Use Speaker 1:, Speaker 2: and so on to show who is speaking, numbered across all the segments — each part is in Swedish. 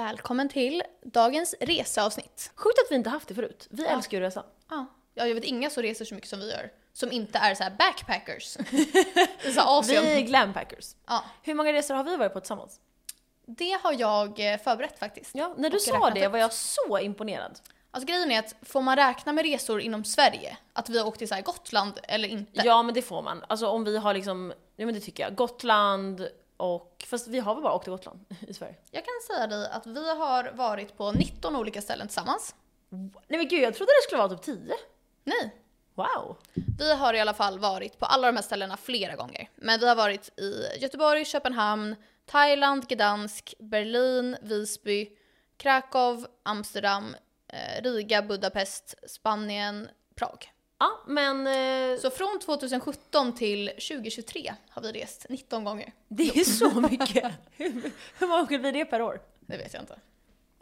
Speaker 1: Välkommen till dagens reseavsnitt.
Speaker 2: Sjukt att vi inte haft det förut. Vi älskar ju att resa.
Speaker 1: Ja. ja, jag vet inga som reser så mycket som vi gör. Som inte är så här backpackers. så här
Speaker 2: Vi
Speaker 1: Asien.
Speaker 2: är glampackers.
Speaker 1: Ja.
Speaker 2: Hur många resor har vi varit på tillsammans?
Speaker 1: Det har jag eh, förberett faktiskt.
Speaker 2: Ja, när du
Speaker 1: Och
Speaker 2: sa
Speaker 1: räknat
Speaker 2: det
Speaker 1: upp.
Speaker 2: var jag så imponerad.
Speaker 1: Alltså grejen är att får man räkna med resor inom Sverige? Att vi har åkt till så här Gotland eller inte?
Speaker 2: Ja men det får man. Alltså om vi har liksom, ja men det tycker jag. Gotland och, fast vi har väl bara åkt till Gotland i Sverige?
Speaker 1: Jag kan säga dig att vi har varit på 19 olika ställen tillsammans.
Speaker 2: Nej men gud jag trodde det skulle vara typ 10.
Speaker 1: Nej,
Speaker 2: Wow!
Speaker 1: Vi har i alla fall varit på alla de här ställena flera gånger. Men vi har varit i Göteborg, Köpenhamn, Thailand, Gdansk, Berlin, Visby, Krakow, Amsterdam, eh, Riga, Budapest, Spanien, Prag.
Speaker 2: Ja men eh,
Speaker 1: Så från 2017 till 2023 har vi rest 19 gånger.
Speaker 2: det är så mycket. Hur- Hur många åker vi det per år?
Speaker 1: Det vet jag inte.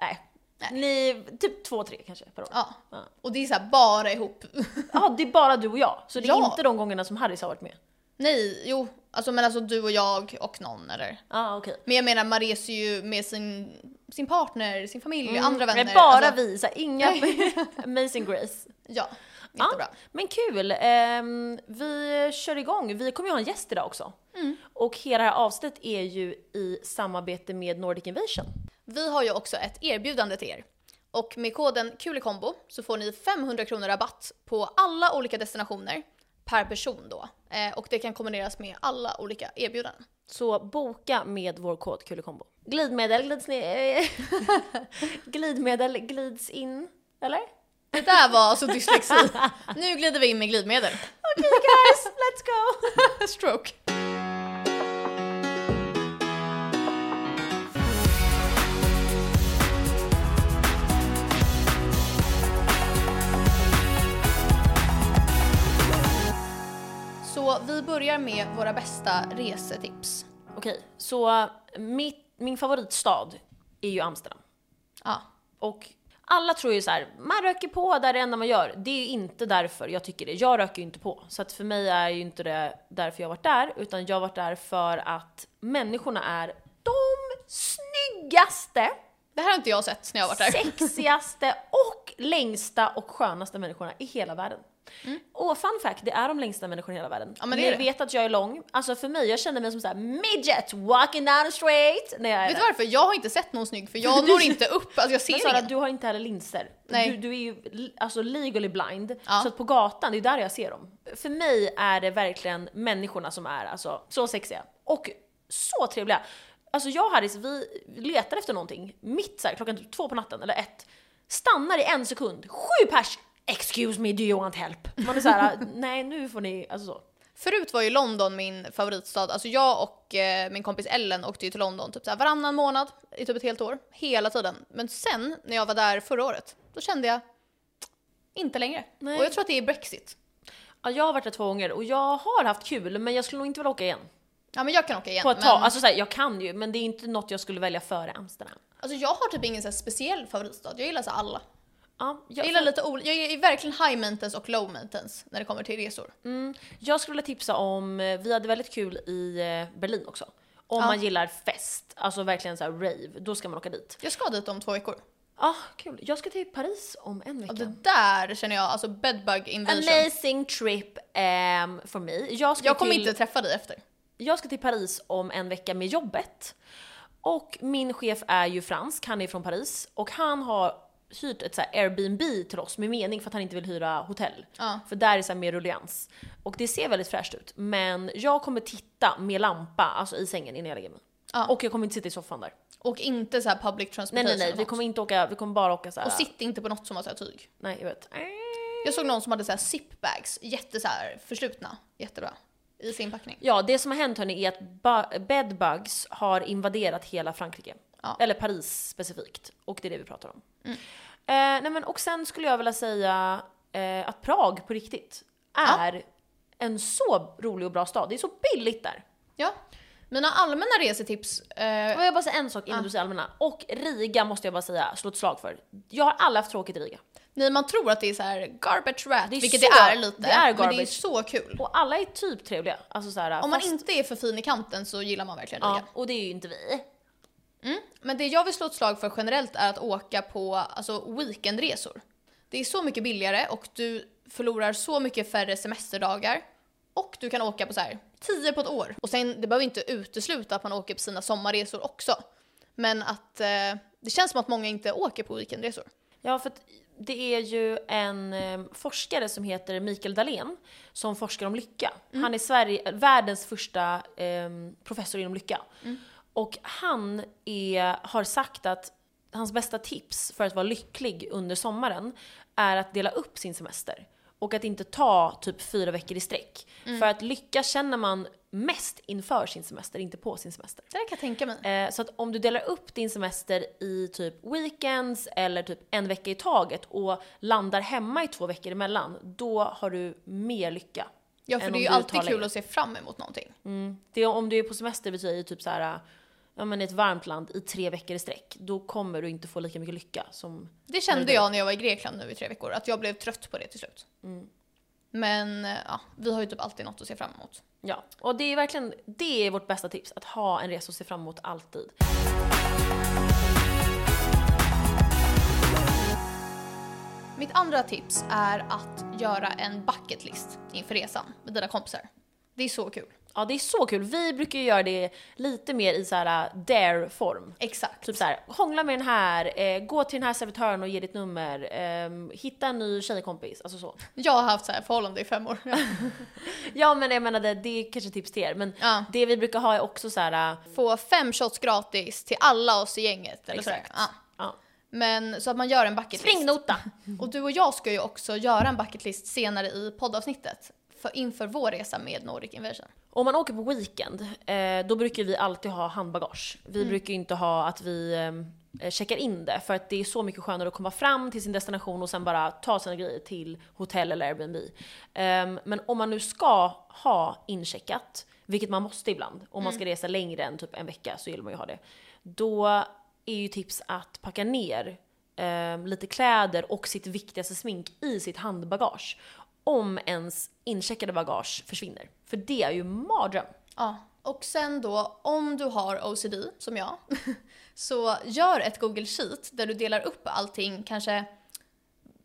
Speaker 2: Nej.
Speaker 1: Nej.
Speaker 2: Ni, typ två, tre kanske per år. Ja,
Speaker 1: Ja, och det är så här bara ihop.
Speaker 2: det är bara du och jag. Så det är
Speaker 1: Ja.
Speaker 2: inte de gångerna som Harris har varit med.
Speaker 1: Nej, jo, alltså men alltså du och jag och någon eller.
Speaker 2: Ja okej.
Speaker 1: Men jag menar man reser ju med sin, sin partner, sin familj, andra vänner.
Speaker 2: Nej, Mm, bara
Speaker 1: alltså,
Speaker 2: vi, så här, inga amazing grace.
Speaker 1: Ja,
Speaker 2: Ja.
Speaker 1: jättebra.
Speaker 2: Men kul! ehm, vi kör igång. Vi kommer ju ha en gäst idag också.
Speaker 1: Mm.
Speaker 2: Och hela det här avsnittet är ju i samarbete med Nordic Invasion.
Speaker 1: Vi har ju också ett erbjudande till er. Och med koden KULEKOMBO så får ni 500 kronor rabatt på alla olika destinationer per person då. Eh, och det kan kombineras med alla olika erbjudanden.
Speaker 2: Så boka med vår kod Kulekombo. Glidmedel glids ner... glidmedel glids in, eller?
Speaker 1: Det där var alltså dyslexi. Nu glider vi in med glidmedel.
Speaker 2: Okej guys, let's go!
Speaker 1: Stroke. Så vi börjar med våra bästa resetips.
Speaker 2: Okej, så mitt, min favoritstad är ju Amsterdam.
Speaker 1: Ja,
Speaker 2: Och alla tror ju så här, man röker på där det enda man gör. Det är ju inte därför jag tycker det. Jag röker ju inte på. Så att för mig är ju inte det därför jag har varit där, utan jag har varit där för att människorna är de snyggaste,
Speaker 1: det här har inte jag sett när jag har varit där.
Speaker 2: sexigaste och längsta och skönaste människorna i hela världen. Och fun fact, det är de längsta människorna i hela världen.
Speaker 1: Mm. Ja, men det
Speaker 2: Ni
Speaker 1: är det.
Speaker 2: vet att jag är lång. Alltså för mig, jag känner mig som så här midget walking down the street när jag är
Speaker 1: Vet
Speaker 2: där.
Speaker 1: du varför? Jag har inte sett någon snygg för jag når inte upp, alltså jag
Speaker 2: Men
Speaker 1: ser
Speaker 2: Sara,
Speaker 1: ingen.
Speaker 2: du har inte heller linser.
Speaker 1: Nej.
Speaker 2: Du, du är ju li- alltså legally blind.
Speaker 1: Ja.
Speaker 2: Så att på gatan, det är där jag ser dem. För mig är det verkligen människorna som är alltså, så sexiga. Och så trevliga. Alltså jag och Harris, vi letar efter någonting. Mitt så här, klockan typ två på natten, eller ett. Stannar i en sekund. Sju pers! Excuse me, do you want help? Man är såhär, nej nu får ni, alltså så.
Speaker 1: Förut var ju London min favoritstad. Alltså jag och eh, min kompis Ellen åkte ju till London typ så här varannan månad i typ ett helt år. Hela tiden. Men sen när jag var där förra året, då kände jag inte längre.
Speaker 2: Nej.
Speaker 1: Och jag tror att det är Brexit.
Speaker 2: Ja, jag har varit där två gånger och jag har haft kul men jag skulle nog inte vilja åka igen.
Speaker 1: Ja men jag kan åka igen.
Speaker 2: På ett tag.
Speaker 1: men,
Speaker 2: Alltså så här, jag kan ju men det är inte något jag skulle välja före Amsterdam.
Speaker 1: alltså jag har typ ingen så här speciell favoritstad. Jag gillar så här alla.
Speaker 2: Ja, jag,
Speaker 1: Jag gillar lite ol- Jag är verkligen high maintenance och low maintenance när det kommer till resor.
Speaker 2: jag skulle vilja tipsa om, eh, vi hade väldigt kul i eh, Berlin också. Om
Speaker 1: Ja.
Speaker 2: man gillar fest, alltså verkligen så här rave, då ska man åka dit.
Speaker 1: Jag ska dit om två veckor.
Speaker 2: Ja, kul. Jag ska till Paris om en vecka.
Speaker 1: Och det där känner jag, alltså bedbug invasion.
Speaker 2: Amazing trip ehm, för mig. Jag ska,
Speaker 1: Jag kommer
Speaker 2: till,
Speaker 1: inte träffa dig efter.
Speaker 2: jag ska till Paris om en vecka med jobbet. Och min chef är ju fransk, han är från Paris. Och han har hyrt ett så här Airbnb till oss med mening för att han inte vill hyra hotell.
Speaker 1: Ja.
Speaker 2: För där är så här mer rullians. Och det ser väldigt fräscht ut. Men jag kommer titta med lampa, alltså i sängen innan jag lägger mig.
Speaker 1: Ja.
Speaker 2: Och jag kommer inte sitta i soffan där.
Speaker 1: Och inte så här public
Speaker 2: Nej
Speaker 1: transportation.
Speaker 2: nej nej,
Speaker 1: och
Speaker 2: vi
Speaker 1: sånt.
Speaker 2: kommer inte åka, vi kommer bara åka så här.
Speaker 1: Och sitt inte på något som har så här tyg.
Speaker 2: Nej jag vet.
Speaker 1: Jag såg någon som hade så här zipbags, jätte så här förslutna, jättebra, i sin packning.
Speaker 2: Ja, det som har hänt hörni är att bu- bedbugs har invaderat hela Frankrike.
Speaker 1: Ja. Mm.
Speaker 2: Eller Paris specifikt. Och det är det vi pratar om. Eh, nej men, och sen skulle jag vilja säga eh, att Prag på riktigt är en så rolig och bra stad. Det är så billigt där.
Speaker 1: Ja. Mina allmänna resetips, eh,
Speaker 2: Och jag bara säga en sak innan du säger allmänna. Och Riga måste jag bara säga, slå ett slag för. Jag har alla haft tråkigt i Riga.
Speaker 1: nej, man tror att det är så här garbage rat,
Speaker 2: Det är
Speaker 1: vilket
Speaker 2: så-
Speaker 1: det är lite,
Speaker 2: det är
Speaker 1: men det är
Speaker 2: garbage.
Speaker 1: så kul.
Speaker 2: Och alla är typ trevliga. Alltså så här,
Speaker 1: Om man
Speaker 2: fast-
Speaker 1: inte är för fin i kanten så gillar man verkligen
Speaker 2: Ja,
Speaker 1: Riga.
Speaker 2: och det är ju inte vi.
Speaker 1: Men det jag vill slå ett slag för generellt är att åka på alltså, weekendresor. Det är så mycket billigare och du förlorar så mycket färre semesterdagar. Och du kan åka på så här 10 på ett år. Och sen, det behöver inte utesluta att man åker på sina sommarresor också. Men att eh, det känns som att många inte åker på weekendresor.
Speaker 2: Ja, för att det är ju en eh, forskare som heter Mikael Dahlén som forskar om lycka. Han är Sverige, världens första eh, professor inom lycka. Och han är, har sagt att hans bästa tips för att vara lycklig under sommaren är att dela upp sin semester. Och att inte ta typ fyra veckor i sträck. För att lycka känner man mest inför sin semester, inte på sin semester.
Speaker 1: Det där kan jag tänka mig.
Speaker 2: Eh, så att om du delar upp din semester i typ weekends eller typ en vecka i taget och landar hemma i två veckor emellan, då har du mer lycka.
Speaker 1: Ja, för
Speaker 2: än
Speaker 1: det
Speaker 2: om
Speaker 1: är ju
Speaker 2: du Mm.
Speaker 1: alltid
Speaker 2: tar
Speaker 1: kul
Speaker 2: längre.
Speaker 1: att se fram emot någonting.
Speaker 2: Det, om du är på semester betyder ju typ så här, ja men i ett varmt land i tre veckor i sträck, då kommer du inte få lika mycket lycka som...
Speaker 1: Det
Speaker 2: Men
Speaker 1: kände
Speaker 2: det-
Speaker 1: jag när jag var i Grekland nu i tre veckor, att jag blev trött på det till slut.
Speaker 2: Mm.
Speaker 1: Men eh, ja, vi har ju typ alltid något att se fram emot.
Speaker 2: Ja, och det är verkligen, det är vårt bästa tips, att ha en resa att se fram emot alltid.
Speaker 1: Mitt andra tips är att göra en bucket list inför resan med dina kompisar. Det är så kul.
Speaker 2: Ja, det är så kul. Vi brukar ju göra det lite mer i så här dare-form.
Speaker 1: Exakt.
Speaker 2: Typ så här, hångla med den här, eh, gå till den här servitören och ge ditt nummer, ehm, hitta en ny tjejkompis, alltså så.
Speaker 1: Jag har haft så här förhållande i fem år.
Speaker 2: Ja men jag menade, det är kanske tips till er, men
Speaker 1: Ja.
Speaker 2: det vi brukar ha är också så här, eh,
Speaker 1: Få fem shots gratis till alla oss i gänget. Eller sådär.
Speaker 2: Exakt.
Speaker 1: Ja.
Speaker 2: ja.
Speaker 1: Men så att man gör en bucket list.
Speaker 2: springnota!
Speaker 1: Och du och jag ska ju också göra en bucket list senare i poddavsnittet. För inför vår resa med Nordic Invasion.
Speaker 2: Om man åker på weekend, eh, då brukar vi alltid ha handbagage. Vi brukar ju inte ha att vi eh, checkar in det, för att det är så mycket skönare att komma fram till sin destination och sen bara ta sina grejer till hotell eller Airbnb. Ehm, men om man nu ska ha incheckat, vilket man måste ibland, om man ska resa längre än typ en vecka så vill man ju ha det. Då är ju tips att packa ner ehm, lite kläder och sitt viktigaste smink i sitt handbagage. Om ens incheckade bagage försvinner. För det är ju mardröm.
Speaker 1: Ja. Och sen då, om du har OCD, som jag, så gör ett Google Sheet där du delar upp allting, kanske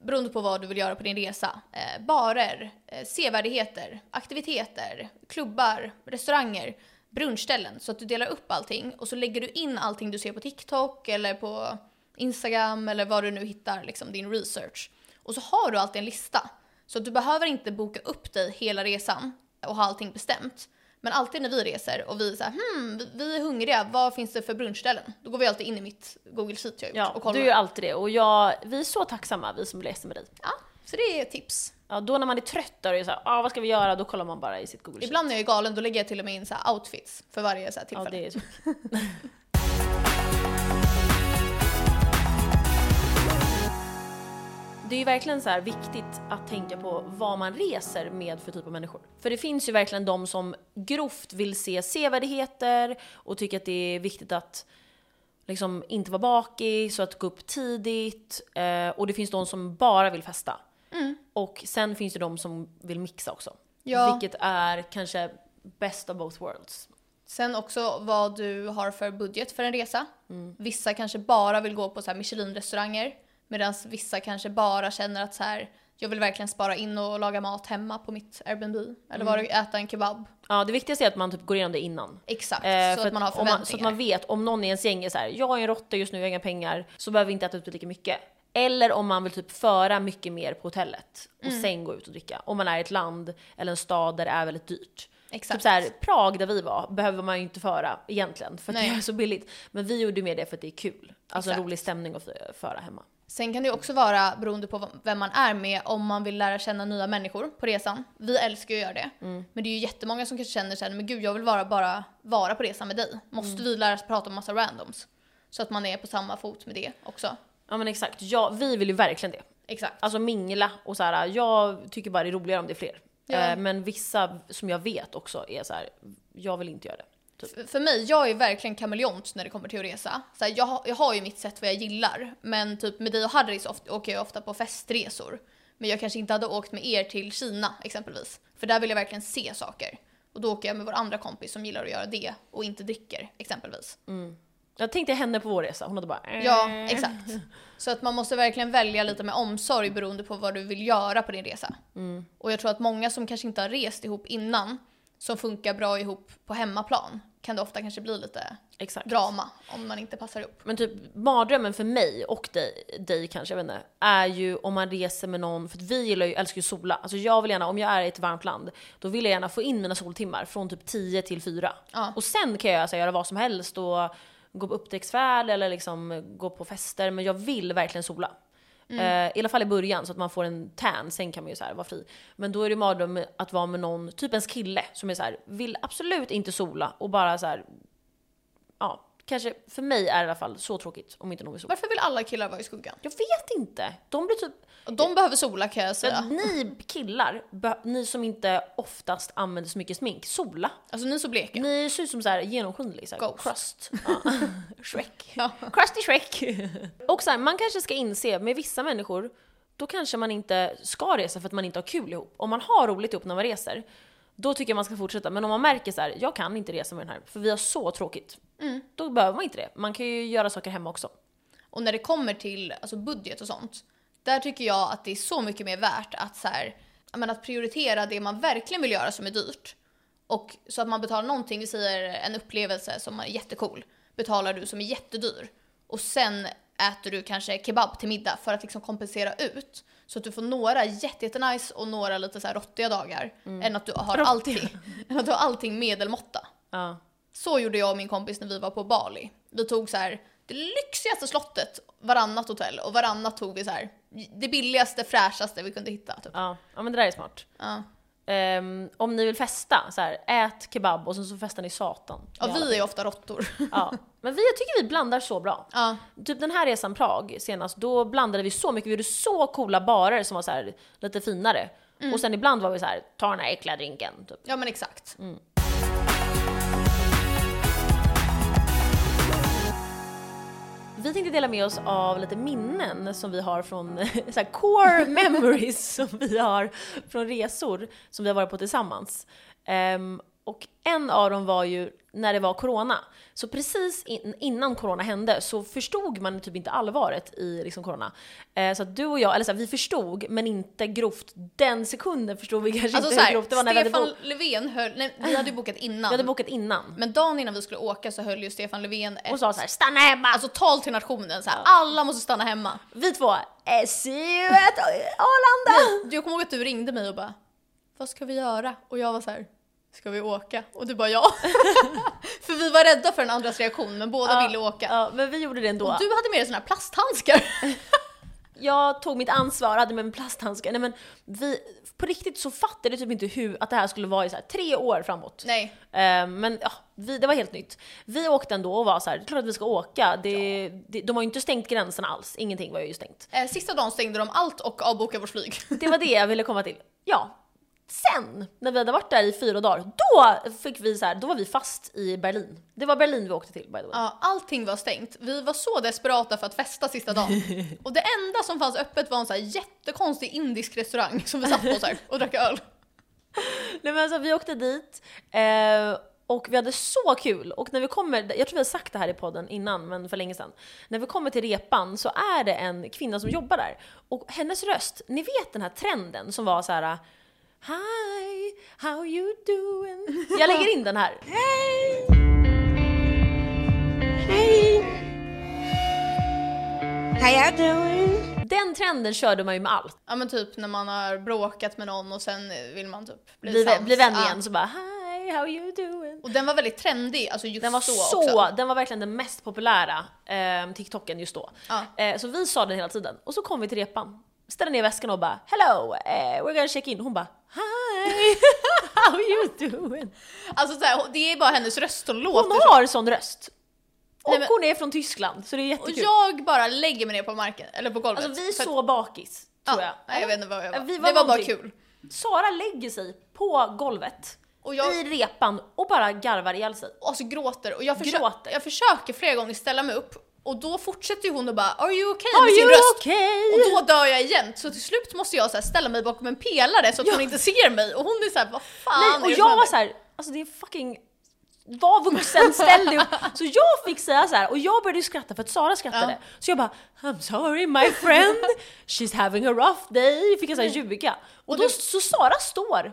Speaker 1: beroende på vad du vill göra på din resa. Eh, barer, eh, sevärdheter, aktiviteter, klubbar, restauranger, brunchställen. Så att du delar upp allting och så lägger du in allting du ser på TikTok eller på Instagram eller var du nu hittar liksom, din research. Och så har du alltid en lista. Så att du behöver inte boka upp dig hela resan och ha allting bestämt. Men alltid när vi reser och vi säger hmm, vi- vi är hungriga, vad finns det för brunchställen? Då går vi alltid in i mitt Google Sheet jag gjort och
Speaker 2: Ja,
Speaker 1: kollar.
Speaker 2: du gör alltid det. Och jag, vi är så tacksamma, vi som reser med dig.
Speaker 1: Ja, så det är tips.
Speaker 2: Ja, då när man är trött då är det så här, ah, vad ska vi göra? Då kollar man bara i sitt Google Sheet.
Speaker 1: Ibland när jag är galen då lägger jag till och med in så här outfits för varje så här
Speaker 2: Ja,
Speaker 1: tillfälle.
Speaker 2: det är så. Det är ju verkligen så här viktigt att tänka på vad man reser med för typ av människor. För det finns ju verkligen de som grovt vill se sevärdheter och tycker att det är viktigt att liksom inte vara bakis och att gå upp tidigt. Eh, och det finns de som bara vill festa. Och sen finns det de som vill mixa också.
Speaker 1: Mm. Ja.
Speaker 2: Vilket är kanske best of both worlds.
Speaker 1: Sen också vad du har för budget för en resa.
Speaker 2: Mm.
Speaker 1: Vissa kanske bara vill gå på så här Michelin-restauranger medan vissa kanske bara känner att så här, jag vill verkligen spara in och laga mat hemma på mitt Airbnb. Eller
Speaker 2: Mm.
Speaker 1: var äta en kebab.
Speaker 2: Ja, det viktigaste är att man typ går igenom det innan.
Speaker 1: Exakt,
Speaker 2: Eh,
Speaker 1: så
Speaker 2: för
Speaker 1: att man har
Speaker 2: om
Speaker 1: förväntningar.
Speaker 2: så att man vet, om någon i ens gäng är såhär, jag är en råtta just nu, jag har inga pengar, så behöver vi inte äta ute lika mycket. Eller om man vill typ föra mycket mer på hotellet och
Speaker 1: Mm.
Speaker 2: sen gå ut och dricka. Om man är i ett land eller en stad där det är väldigt dyrt.
Speaker 1: Exakt.
Speaker 2: Typ såhär, Prag där vi var behöver man ju inte föra egentligen för att
Speaker 1: Nej.
Speaker 2: det är så billigt. Men vi gjorde ju mer det för att det är kul. Alltså en
Speaker 1: Exakt.
Speaker 2: rolig stämning att f- föra hemma.
Speaker 1: Sen kan det också vara, beroende på vem man är med, om man vill lära känna nya människor på resan. Vi älskar ju att göra det. Men det är ju jättemånga som kanske känner såhär, men gud jag vill vara, bara vara på resan med dig. Måste vi lära oss prata om massa randoms? Så att man är på samma fot med det också.
Speaker 2: Ja men exakt, ja, vi vill ju verkligen det.
Speaker 1: Exakt.
Speaker 2: Alltså mingla och så här. jag tycker bara det är roligare om det är fler.
Speaker 1: Ja.
Speaker 2: Eh, Men vissa som jag vet också är så här. jag vill inte göra det. Typ.
Speaker 1: F- För mig, jag är verkligen kameleont när det kommer till att resa. Så här, jag, har- jag har ju mitt sätt vad jag gillar. Men typ med dig och Harry så ofta, åker jag ofta på festresor. Men jag kanske inte hade åkt med er till Kina exempelvis. För där vill jag verkligen se saker. Och då åker jag med vår andra kompis som gillar att göra det och inte dricker exempelvis.
Speaker 2: Jag tänkte henne på vår resa, hon hade bara eh.
Speaker 1: Ja, exakt. Så att man måste verkligen välja lite med omsorg beroende på vad du vill göra på din resa. Och jag tror att många som kanske inte har rest ihop innan, som funkar bra ihop på hemmaplan, kan det ofta kanske bli lite
Speaker 2: Exakt.
Speaker 1: drama om man inte passar ihop.
Speaker 2: Men typ mardrömmen för mig och dig, dig kanske, jag vet inte, är ju om man reser med någon, för att vi gillar ju, älskar ju sola. Alltså jag vill gärna, om jag är i ett varmt land, då vill jag gärna få in mina soltimmar från typ 10 till 4.
Speaker 1: Ja.
Speaker 2: Och sen kan jag alltså göra vad som helst och gå på upptäcktsfärd eller liksom gå på fester, men jag vill verkligen sola. Eh, I alla fall i början så att man får en tan, sen kan man ju så här vara fri. Men då är det ju mardröm att vara med någon, typ ens kille, som är så här, vill absolut inte sola och bara så här ja, kanske för mig är det i alla fall så tråkigt om inte någon vill sola.
Speaker 1: Varför vill alla killar vara i skuggan?
Speaker 2: Jag vet inte! De blir typ...
Speaker 1: Och de behöver sola kan jag säga.
Speaker 2: Ni killar, bö- ni som inte oftast använder så mycket smink, sola.
Speaker 1: Alltså ni är så bleka.
Speaker 2: Ni ser ut som så här genomskinlig, så här
Speaker 1: Ghost.
Speaker 2: crust. Ja. Shrek.
Speaker 1: Ja.
Speaker 2: Crusty Shrek! Och så här, man kanske ska inse, med vissa människor, då kanske man inte ska resa för att man inte har kul ihop. Om man har roligt ihop när man reser, då tycker jag man ska fortsätta. Men om man märker så här, jag kan inte resa med den här, för vi har så tråkigt.
Speaker 1: Mm.
Speaker 2: Då behöver man inte det. Man kan ju göra saker hemma också.
Speaker 1: Och när det kommer till alltså budget och sånt, där tycker jag att det är så mycket mer värt att, så här, ja, men att prioritera det man verkligen vill göra som är dyrt. Och så att man betalar någonting, vi säger en upplevelse som är jättecool, betalar du som är jättedyr. Och sen äter du kanske kebab till middag för att liksom kompensera ut. Så att du får några jätte, jättenice och några lite så här rottiga dagar. Än, att du har allting, än att du har allting medelmåtta.
Speaker 2: Ja.
Speaker 1: Så gjorde jag och min kompis när vi var på Bali. Vi tog så här det lyxigaste slottet varannat hotell och varannat tog vi så här det billigaste, fräschaste vi kunde hitta. Typ.
Speaker 2: Ja, ja men det där är smart.
Speaker 1: Ja.
Speaker 2: Ehm, om ni vill festa, så här, ät kebab och sen så festar ni satan.
Speaker 1: Ja, vi är ofta råttor.
Speaker 2: ja. Men vi, jag tycker vi blandar så bra.
Speaker 1: Ja.
Speaker 2: Typ den här resan Prag senast, då blandade vi så mycket, vi gjorde så coola barer som var så här, lite finare. Och sen ibland var vi så här, ta den här äckliga drinken. Typ.
Speaker 1: ja, men exakt.
Speaker 2: Vi tänkte dela med oss av lite minnen som vi har från, så här, core memories som vi har från resor som vi har varit på tillsammans. Ehm, och en av dem var ju när det var corona. Så precis in, innan corona hände så förstod man typ inte allvaret i liksom, corona. Eh, så att du och jag, eller så här, vi förstod men inte grovt. Den sekunden förstod vi kanske
Speaker 1: Alltså så
Speaker 2: inte hur
Speaker 1: här,
Speaker 2: grovt det var när vi hade,
Speaker 1: Stefan
Speaker 2: bo-
Speaker 1: Löfven höll, nej, vi hade ju bokat
Speaker 2: vi
Speaker 1: innan.
Speaker 2: hade bokat innan.
Speaker 1: Men dagen innan vi skulle åka så höll ju Stefan Löfven ett
Speaker 2: Och sa så här, stanna hemma!
Speaker 1: alltså, tal till nationen så här, alla måste stanna hemma.
Speaker 2: vi två, eh, see you at Arlanda!
Speaker 1: Jag kommer ihåg att du ringde mig och bara Vad ska vi göra? Och jag var så här Ska vi åka? Och du bara ja. för vi var rädda för den andras reaktion men båda ville åka.
Speaker 2: Ja, men vi gjorde det ändå.
Speaker 1: Du hade med dig såna här plasthandskar.
Speaker 2: jag tog mitt ansvar, hade med mig plasthandskar. Nej men vi, på riktigt så fattade jag typ inte hur, att det här skulle vara i så här, tre år framåt.
Speaker 1: Nej.
Speaker 2: Eh, men ja, vi, det var helt nytt. Vi åkte ändå och var så här, det är klart att vi ska åka. Det, det, de har ju inte stängt gränserna alls, ingenting var ju stängt.
Speaker 1: Eh, Sista dagen stängde de allt och avbokade vårt flyg.
Speaker 2: Det var det jag ville komma till. Ja. Sen, när vi hade varit där i fyra dagar, då fick vi så här, då var vi fast i Berlin. Det var Berlin vi åkte till by the way.
Speaker 1: Ja, allting var stängt. Vi var så desperata för att festa sista dagen. Och det enda som fanns öppet var en så här jättekonstig indisk restaurang som vi satt på så här och drack öl.
Speaker 2: Nej men alltså vi åkte dit eh, och vi hade så kul. Och när vi kommer, jag tror vi har sagt det här i podden innan men för länge sedan. När vi kommer till repan så är det en kvinna som jobbar där. Och hennes röst, ni vet den här trenden som var så här. Hi, how you doing? Jag lägger in den här.
Speaker 3: Hey. How y'all doing?
Speaker 2: Den trenden körde man ju med allt.
Speaker 1: Ja men typ när man har bråkat med någon och sen vill man typ bli,
Speaker 2: Bli,
Speaker 1: sams.
Speaker 2: bli vän
Speaker 1: Ja.
Speaker 2: igen så bara hi, how you doing?
Speaker 1: Och den var väldigt trendig, alltså just
Speaker 2: Den var
Speaker 1: så,
Speaker 2: så,
Speaker 1: också.
Speaker 2: den var verkligen den mest populära eh, TikToken just då.
Speaker 1: Ja.
Speaker 2: Eh, så vi sa den hela tiden och så kom vi till repan, ställde ner väskan och bara “Hello, eh, we're gonna check in” hon bara “Hi, how you doing?”
Speaker 1: Alltså så här, det är bara hennes röst som
Speaker 2: Hon
Speaker 1: låter så.
Speaker 2: har sån röst! Och
Speaker 1: Nej, men-
Speaker 2: hon är från Tyskland så det är
Speaker 1: Och
Speaker 2: jättekul.
Speaker 1: jag bara lägger mig ner på marken, eller på golvet.
Speaker 2: alltså vi
Speaker 1: För att-
Speaker 2: så bakis, tror
Speaker 1: ja,
Speaker 2: jag.
Speaker 1: Nej, jag vet inte vad jag var.
Speaker 2: Vi var
Speaker 1: det var bara
Speaker 2: någonting.
Speaker 1: kul.
Speaker 2: Sara lägger sig på golvet
Speaker 1: Och jag-
Speaker 2: i repan och bara garvar ihjäl sig.
Speaker 1: Och så gråter och jag, försö-
Speaker 2: Gråter.
Speaker 1: jag försöker flera gånger ställa mig upp och då fortsätter ju hon och bara “Are you okay?”
Speaker 2: Are
Speaker 1: med sin
Speaker 2: you
Speaker 1: röst.
Speaker 2: okay?
Speaker 1: Och då dör jag igen, så till slut måste jag så här ställa mig bakom en pelare så att hon inte ser mig och hon är så här, vad fan
Speaker 2: Nej,
Speaker 1: är
Speaker 2: och
Speaker 1: det som
Speaker 2: jag var
Speaker 1: händer?"
Speaker 2: så här, alltså det är fucking var vuxen, ställ dig upp. Så jag fick säga så här och jag började ju skratta för att Sara skrattade.
Speaker 1: Ja.
Speaker 2: Så jag bara I'm sorry my friend, she's having a rough day. Fick jag så här
Speaker 1: Mm.
Speaker 2: ljuga. Och då så Sara står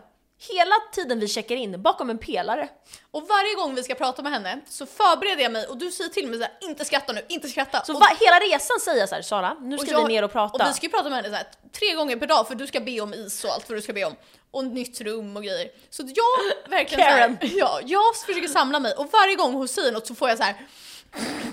Speaker 2: hela tiden vi checkar in bakom en pelare.
Speaker 1: Och varje gång vi ska prata med henne så förbereder jag mig och du säger till mig såhär inte skratta nu, inte skratta.
Speaker 2: Så
Speaker 1: och,
Speaker 2: va, hela resan säger jag så här Sara, nu ska
Speaker 1: och jag-
Speaker 2: vi ner och prata.
Speaker 1: Och vi ska ju prata med henne så här, tre gånger per dag för du ska be om is och allt vad du ska be om. Och nytt rum och grejer. Så att jag verkligen
Speaker 2: Karen.
Speaker 1: Så här, ja, jag försöker samla mig och varje gång hon säger något så får jag så här.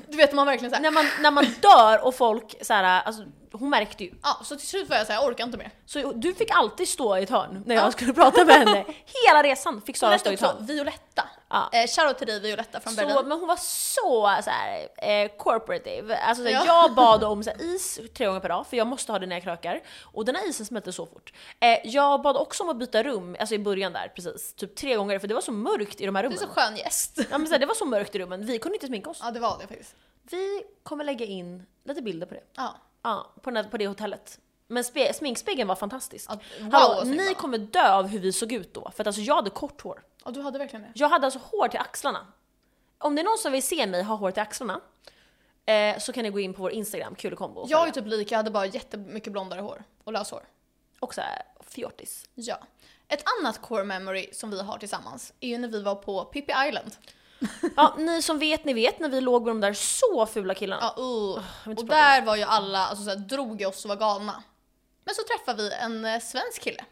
Speaker 1: Du vet man verkligen såhär.
Speaker 2: när, man, när man dör och folk så här, alltså, hon märkte ju.
Speaker 1: Ja, så till slut var jag såhär, jag orkar inte mer.
Speaker 2: Så du fick alltid stå i ett hörn när jag
Speaker 1: Ja.
Speaker 2: skulle prata med henne. Hela resan fick
Speaker 1: Hon
Speaker 2: Sara
Speaker 1: hette
Speaker 2: stå i ett
Speaker 1: också
Speaker 2: hörn.
Speaker 1: Violetta.
Speaker 2: Ja.
Speaker 1: Eh, shoutout till dig Violetta från
Speaker 2: Så,
Speaker 1: Berlin.
Speaker 2: men hon var så, så här, eh, corporative. Alltså, så här,
Speaker 1: Ja.
Speaker 2: Jag bad om så här, is tre gånger per dag för jag måste ha det när jag krökar. Och den här isen smälter så fort. Eh, jag bad också om att byta rum, alltså i början där precis, typ tre gånger för det var så mörkt i de här
Speaker 1: Du är
Speaker 2: rummen.
Speaker 1: så skön gäst.
Speaker 2: Ja, men, så här, det var så mörkt i rummen, vi kunde inte sminka oss.
Speaker 1: Ja det var det faktiskt.
Speaker 2: Vi kommer lägga in lite bilder på det.
Speaker 1: Ja.
Speaker 2: Ja, på, den, på det hotellet. Men spe, sminkspegeln var fantastisk.
Speaker 1: Ja, wow,
Speaker 2: Hallå,
Speaker 1: vad snygg
Speaker 2: ni
Speaker 1: man.
Speaker 2: kommer dö av hur vi såg ut då. För att alltså jag hade kort hår.
Speaker 1: ja, du hade verkligen det.
Speaker 2: Jag hade alltså hår till axlarna. Om det är någon som vill se mig ha hår till axlarna eh, så kan ni gå in på vår Instagram, kul och kombo. och
Speaker 1: Jag är
Speaker 2: följa.
Speaker 1: typ lik, jag hade bara jättemycket blondare hår och löshår.
Speaker 2: Och så här, fjortis.
Speaker 1: Ja. Ett annat core memory som vi har tillsammans är ju när vi var på Pippi Island.
Speaker 2: Ja, ni som vet, ni vet när vi låg med de där så fula killarna.
Speaker 1: Ja, uh.
Speaker 2: vill inte
Speaker 1: Och
Speaker 2: prata om
Speaker 1: där var ju alla, alltså såhär, drog i oss och var galna. Men så träffade vi en eh, svensk kille.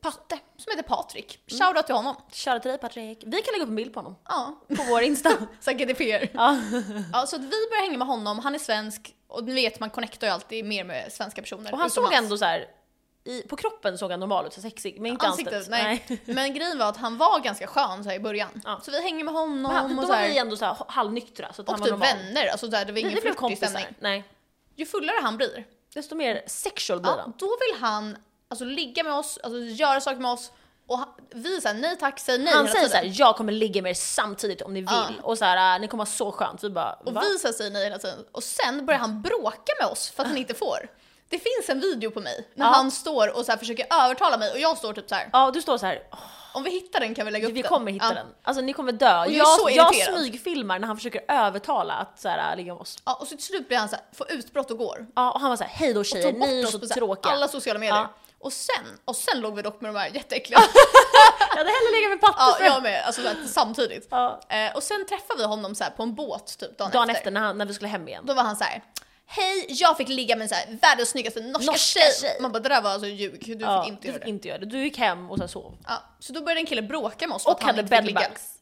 Speaker 1: Patte. Som heter Patrik.
Speaker 2: Mm.
Speaker 1: Shoutout till honom.
Speaker 2: Shoutout till dig Patrik. Vi kan lägga upp en bild på honom.
Speaker 1: Ja.
Speaker 2: På vår Insta.
Speaker 1: Såhär GDPR.
Speaker 2: ja.
Speaker 1: Ja, så att vi började hänga med honom, han är svensk och ni vet man connectar ju alltid mer med svenska personer.
Speaker 2: Och han såg
Speaker 1: utomlands.
Speaker 2: ändå så här. I, på kroppen såg han normal ut, så sexig. Men inte
Speaker 1: ansiktet. Nej. Men grejen var att han var ganska skön så här, i början.
Speaker 2: Ja.
Speaker 1: Så vi hängde med honom
Speaker 2: Men han,
Speaker 1: och
Speaker 2: då
Speaker 1: så
Speaker 2: var
Speaker 1: här,
Speaker 2: vi ändå så här, halvnyktra så att han
Speaker 1: och
Speaker 2: var
Speaker 1: typ
Speaker 2: normal.
Speaker 1: vänner. Alltså, så här, det var
Speaker 2: Vi,
Speaker 1: ingen
Speaker 2: blev
Speaker 1: flörtig
Speaker 2: kompisar.
Speaker 1: stämning.
Speaker 2: Nej.
Speaker 1: Ju fullare han blir,
Speaker 2: Desto mer sexual blir
Speaker 1: ja,
Speaker 2: han.
Speaker 1: då vill han alltså, ligga med oss, alltså, göra saker med oss. Och han, vi säger nej tack, säger nej
Speaker 2: Han
Speaker 1: hela
Speaker 2: säger
Speaker 1: tiden.
Speaker 2: såhär, jag kommer ligga med er samtidigt om ni vill.
Speaker 1: Ja.
Speaker 2: Och såhär, ni kommer ha så skönt. Vi bara,
Speaker 1: Och
Speaker 2: va?
Speaker 1: vi så här säger nej hela tiden. Och sen börjar han bråka med oss för att han inte får. Det finns en video på mig när
Speaker 2: Ja.
Speaker 1: han står och så här försöker övertala mig och jag står typ så här.
Speaker 2: Ja, du står såhär, "Åh,
Speaker 1: om vi hittar den kan vi lägga upp
Speaker 2: vi
Speaker 1: den.
Speaker 2: kommer hitta
Speaker 1: ja.
Speaker 2: den. Alltså ni kommer dö.
Speaker 1: jag är så
Speaker 2: jag, jag
Speaker 1: irriterad.
Speaker 2: smygfilmar när han försöker övertala att såhär, ligga med oss.
Speaker 1: Ja, och så till slut blir han så här, får utbrott och går.
Speaker 2: Ja, och han var såhär, hej då tjejer,
Speaker 1: tog bort
Speaker 2: ni är
Speaker 1: oss
Speaker 2: så
Speaker 1: på så här
Speaker 2: tråkiga.
Speaker 1: alla sociala medier.
Speaker 2: Ja.
Speaker 1: Och sen, och sen låg vi dock med de här jätteäckliga.
Speaker 2: Jag hade hellre legat med Patte.
Speaker 1: ja,
Speaker 2: för-
Speaker 1: jag med. Alltså så här, samtidigt.
Speaker 2: Ja.
Speaker 1: Eh, och sen träffade vi honom så här, på en båt typ dagen,
Speaker 2: Dagen
Speaker 1: efter.
Speaker 2: efter när, han, när vi skulle hem igen.
Speaker 1: Då var han så här. Hej, jag fick ligga med så här, världens snyggaste norska,
Speaker 2: Norska
Speaker 1: tjej.
Speaker 2: tjej.
Speaker 1: Man bara det där var alltså ljug, du
Speaker 2: ja,
Speaker 1: fick inte
Speaker 2: du
Speaker 1: göra
Speaker 2: fick
Speaker 1: det.
Speaker 2: inte göra det. Du gick hem och sen sov.
Speaker 1: Ja, så då började en kille bråka med oss för
Speaker 2: Och hade
Speaker 1: inte fick ligga.
Speaker 2: bedbugs.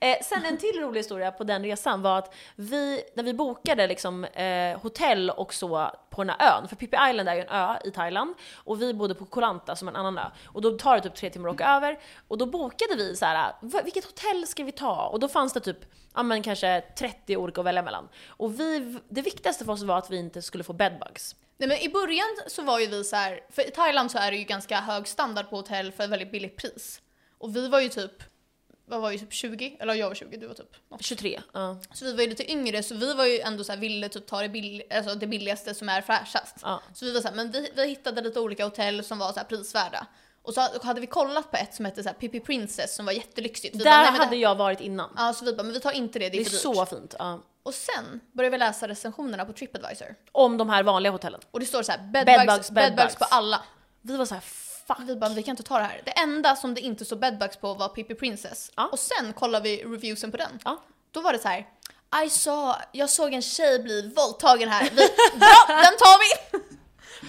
Speaker 2: Eh, sen en till rolig historia på den resan var att vi, när vi bokade liksom, eh, hotell och så på den här ön, för Pippi Island är ju en ö i Thailand, och vi bodde på Koh Lanta som en annan ö, och då tar det typ tre timmar att åka över, och då bokade vi så här, "Va- vilket hotell ska vi ta? Och då fanns det typ, ja men kanske 30 olika att välja mellan. Och vi, det viktigaste för oss var att vi inte skulle få bedbugs.
Speaker 1: Nej men i början så var ju vi så här, för i Thailand så är det ju ganska hög standard på hotell för ett väldigt billigt pris. Och vi var ju typ, vad var vi, typ 20? Eller jag var 20, du var typ något.
Speaker 2: 23. ja.
Speaker 1: Så vi var ju lite yngre så vi var ju ändå så här, ville typ ta det, bill- alltså det billigaste som är fräschast.
Speaker 2: Ja.
Speaker 1: Så vi var så här, men vi, vi hittade lite olika hotell som var så här prisvärda. Och så hade vi kollat på ett som hette så här Pippi Princess som var jättelyxigt. Vi bara,
Speaker 2: Där
Speaker 1: nej, men
Speaker 2: hade
Speaker 1: det-
Speaker 2: jag varit innan.
Speaker 1: Ja, så vi bara, men vi tar inte det, det är,
Speaker 2: det är
Speaker 1: för dyrt.
Speaker 2: så fint. ja.
Speaker 1: Och sen började vi läsa recensionerna på Tripadvisor.
Speaker 2: Om de här vanliga hotellen.
Speaker 1: Och det står så här, bedbugs, bedbugs,
Speaker 2: Bedbugs, bedbugs.
Speaker 1: på alla.
Speaker 2: Vi var så här, fuck.
Speaker 1: Vi bara, vi kan inte ta det här. Det enda som det inte stod bedbugs på var Pippi Princess.
Speaker 2: Ja.
Speaker 1: Och sen kollar vi reviewsen på den.
Speaker 2: Ja.
Speaker 1: Då var det så här. I saw, jag såg en tjej bli våldtagen här. Vi, bra, den tar vi!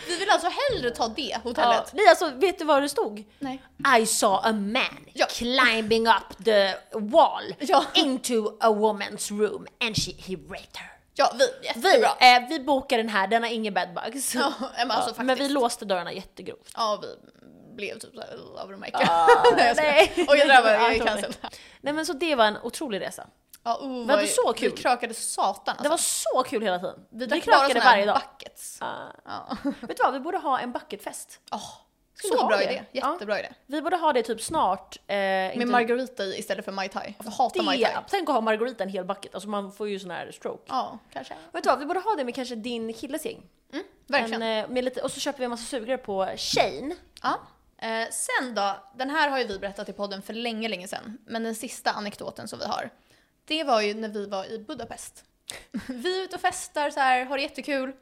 Speaker 1: Vi vill alltså hellre ta det
Speaker 2: Ja.
Speaker 1: hotellet.
Speaker 2: Nej alltså vet du vad det stod?
Speaker 1: Nej.
Speaker 2: I saw a man
Speaker 1: Ja.
Speaker 2: climbing up the wall
Speaker 1: Ja.
Speaker 2: into a woman's room and she, he raped her.
Speaker 1: Ja, vi,
Speaker 2: Vi,
Speaker 1: jättebra.
Speaker 2: eh, vi bokar den här, den har inga bedbugs.
Speaker 1: Ja, men alltså
Speaker 2: men vi
Speaker 1: faktiskt.
Speaker 2: låste dörrarna jättegrovt.
Speaker 1: Ja, vi blev typ såhär love and Michael. nej jag skojar.
Speaker 2: Ah, nej.
Speaker 1: Oj jag drabbar,
Speaker 2: Ja,
Speaker 1: jag är
Speaker 2: jag tror
Speaker 1: cancelled.
Speaker 2: Nej men så det var en otrolig resa.
Speaker 1: Ja, oh,
Speaker 2: hade
Speaker 1: vad-
Speaker 2: så
Speaker 1: Vi
Speaker 2: kul.
Speaker 1: krökade satan alltså.
Speaker 2: Det var så kul hela tiden. Vi,
Speaker 1: drack bara
Speaker 2: krökade
Speaker 1: såna här
Speaker 2: varje dag.
Speaker 1: Buckets.
Speaker 2: Ah.
Speaker 1: Ja.
Speaker 2: Vet du vad, vi borde ha en bucketfest.
Speaker 1: Åh,
Speaker 2: Ska vi
Speaker 1: så
Speaker 2: ha
Speaker 1: bra
Speaker 2: det?
Speaker 1: idé,
Speaker 2: Ja.
Speaker 1: jättebra idé.
Speaker 2: Vi borde ha det typ snart. Eh,
Speaker 1: Med margarita i istället för Mai Tai. Jag hatar Mai Tai.
Speaker 2: det, Tänk att ha Margarita en hel bucket, alltså man får ju sån här stroke.
Speaker 1: Ja, kanske.
Speaker 2: Vet du vad, vi borde ha det med kanske din killes gäng.
Speaker 1: Verkligen.
Speaker 2: En, eh, med lite, och så köper vi en massa sugrör på Shane.
Speaker 1: Ja. Eh, sen då, den här har ju vi berättat i podden för länge, länge sedan. Men den sista anekdoten som vi har. det var ju när vi var i Budapest. Vi är ute och festar så här, har det jättekul.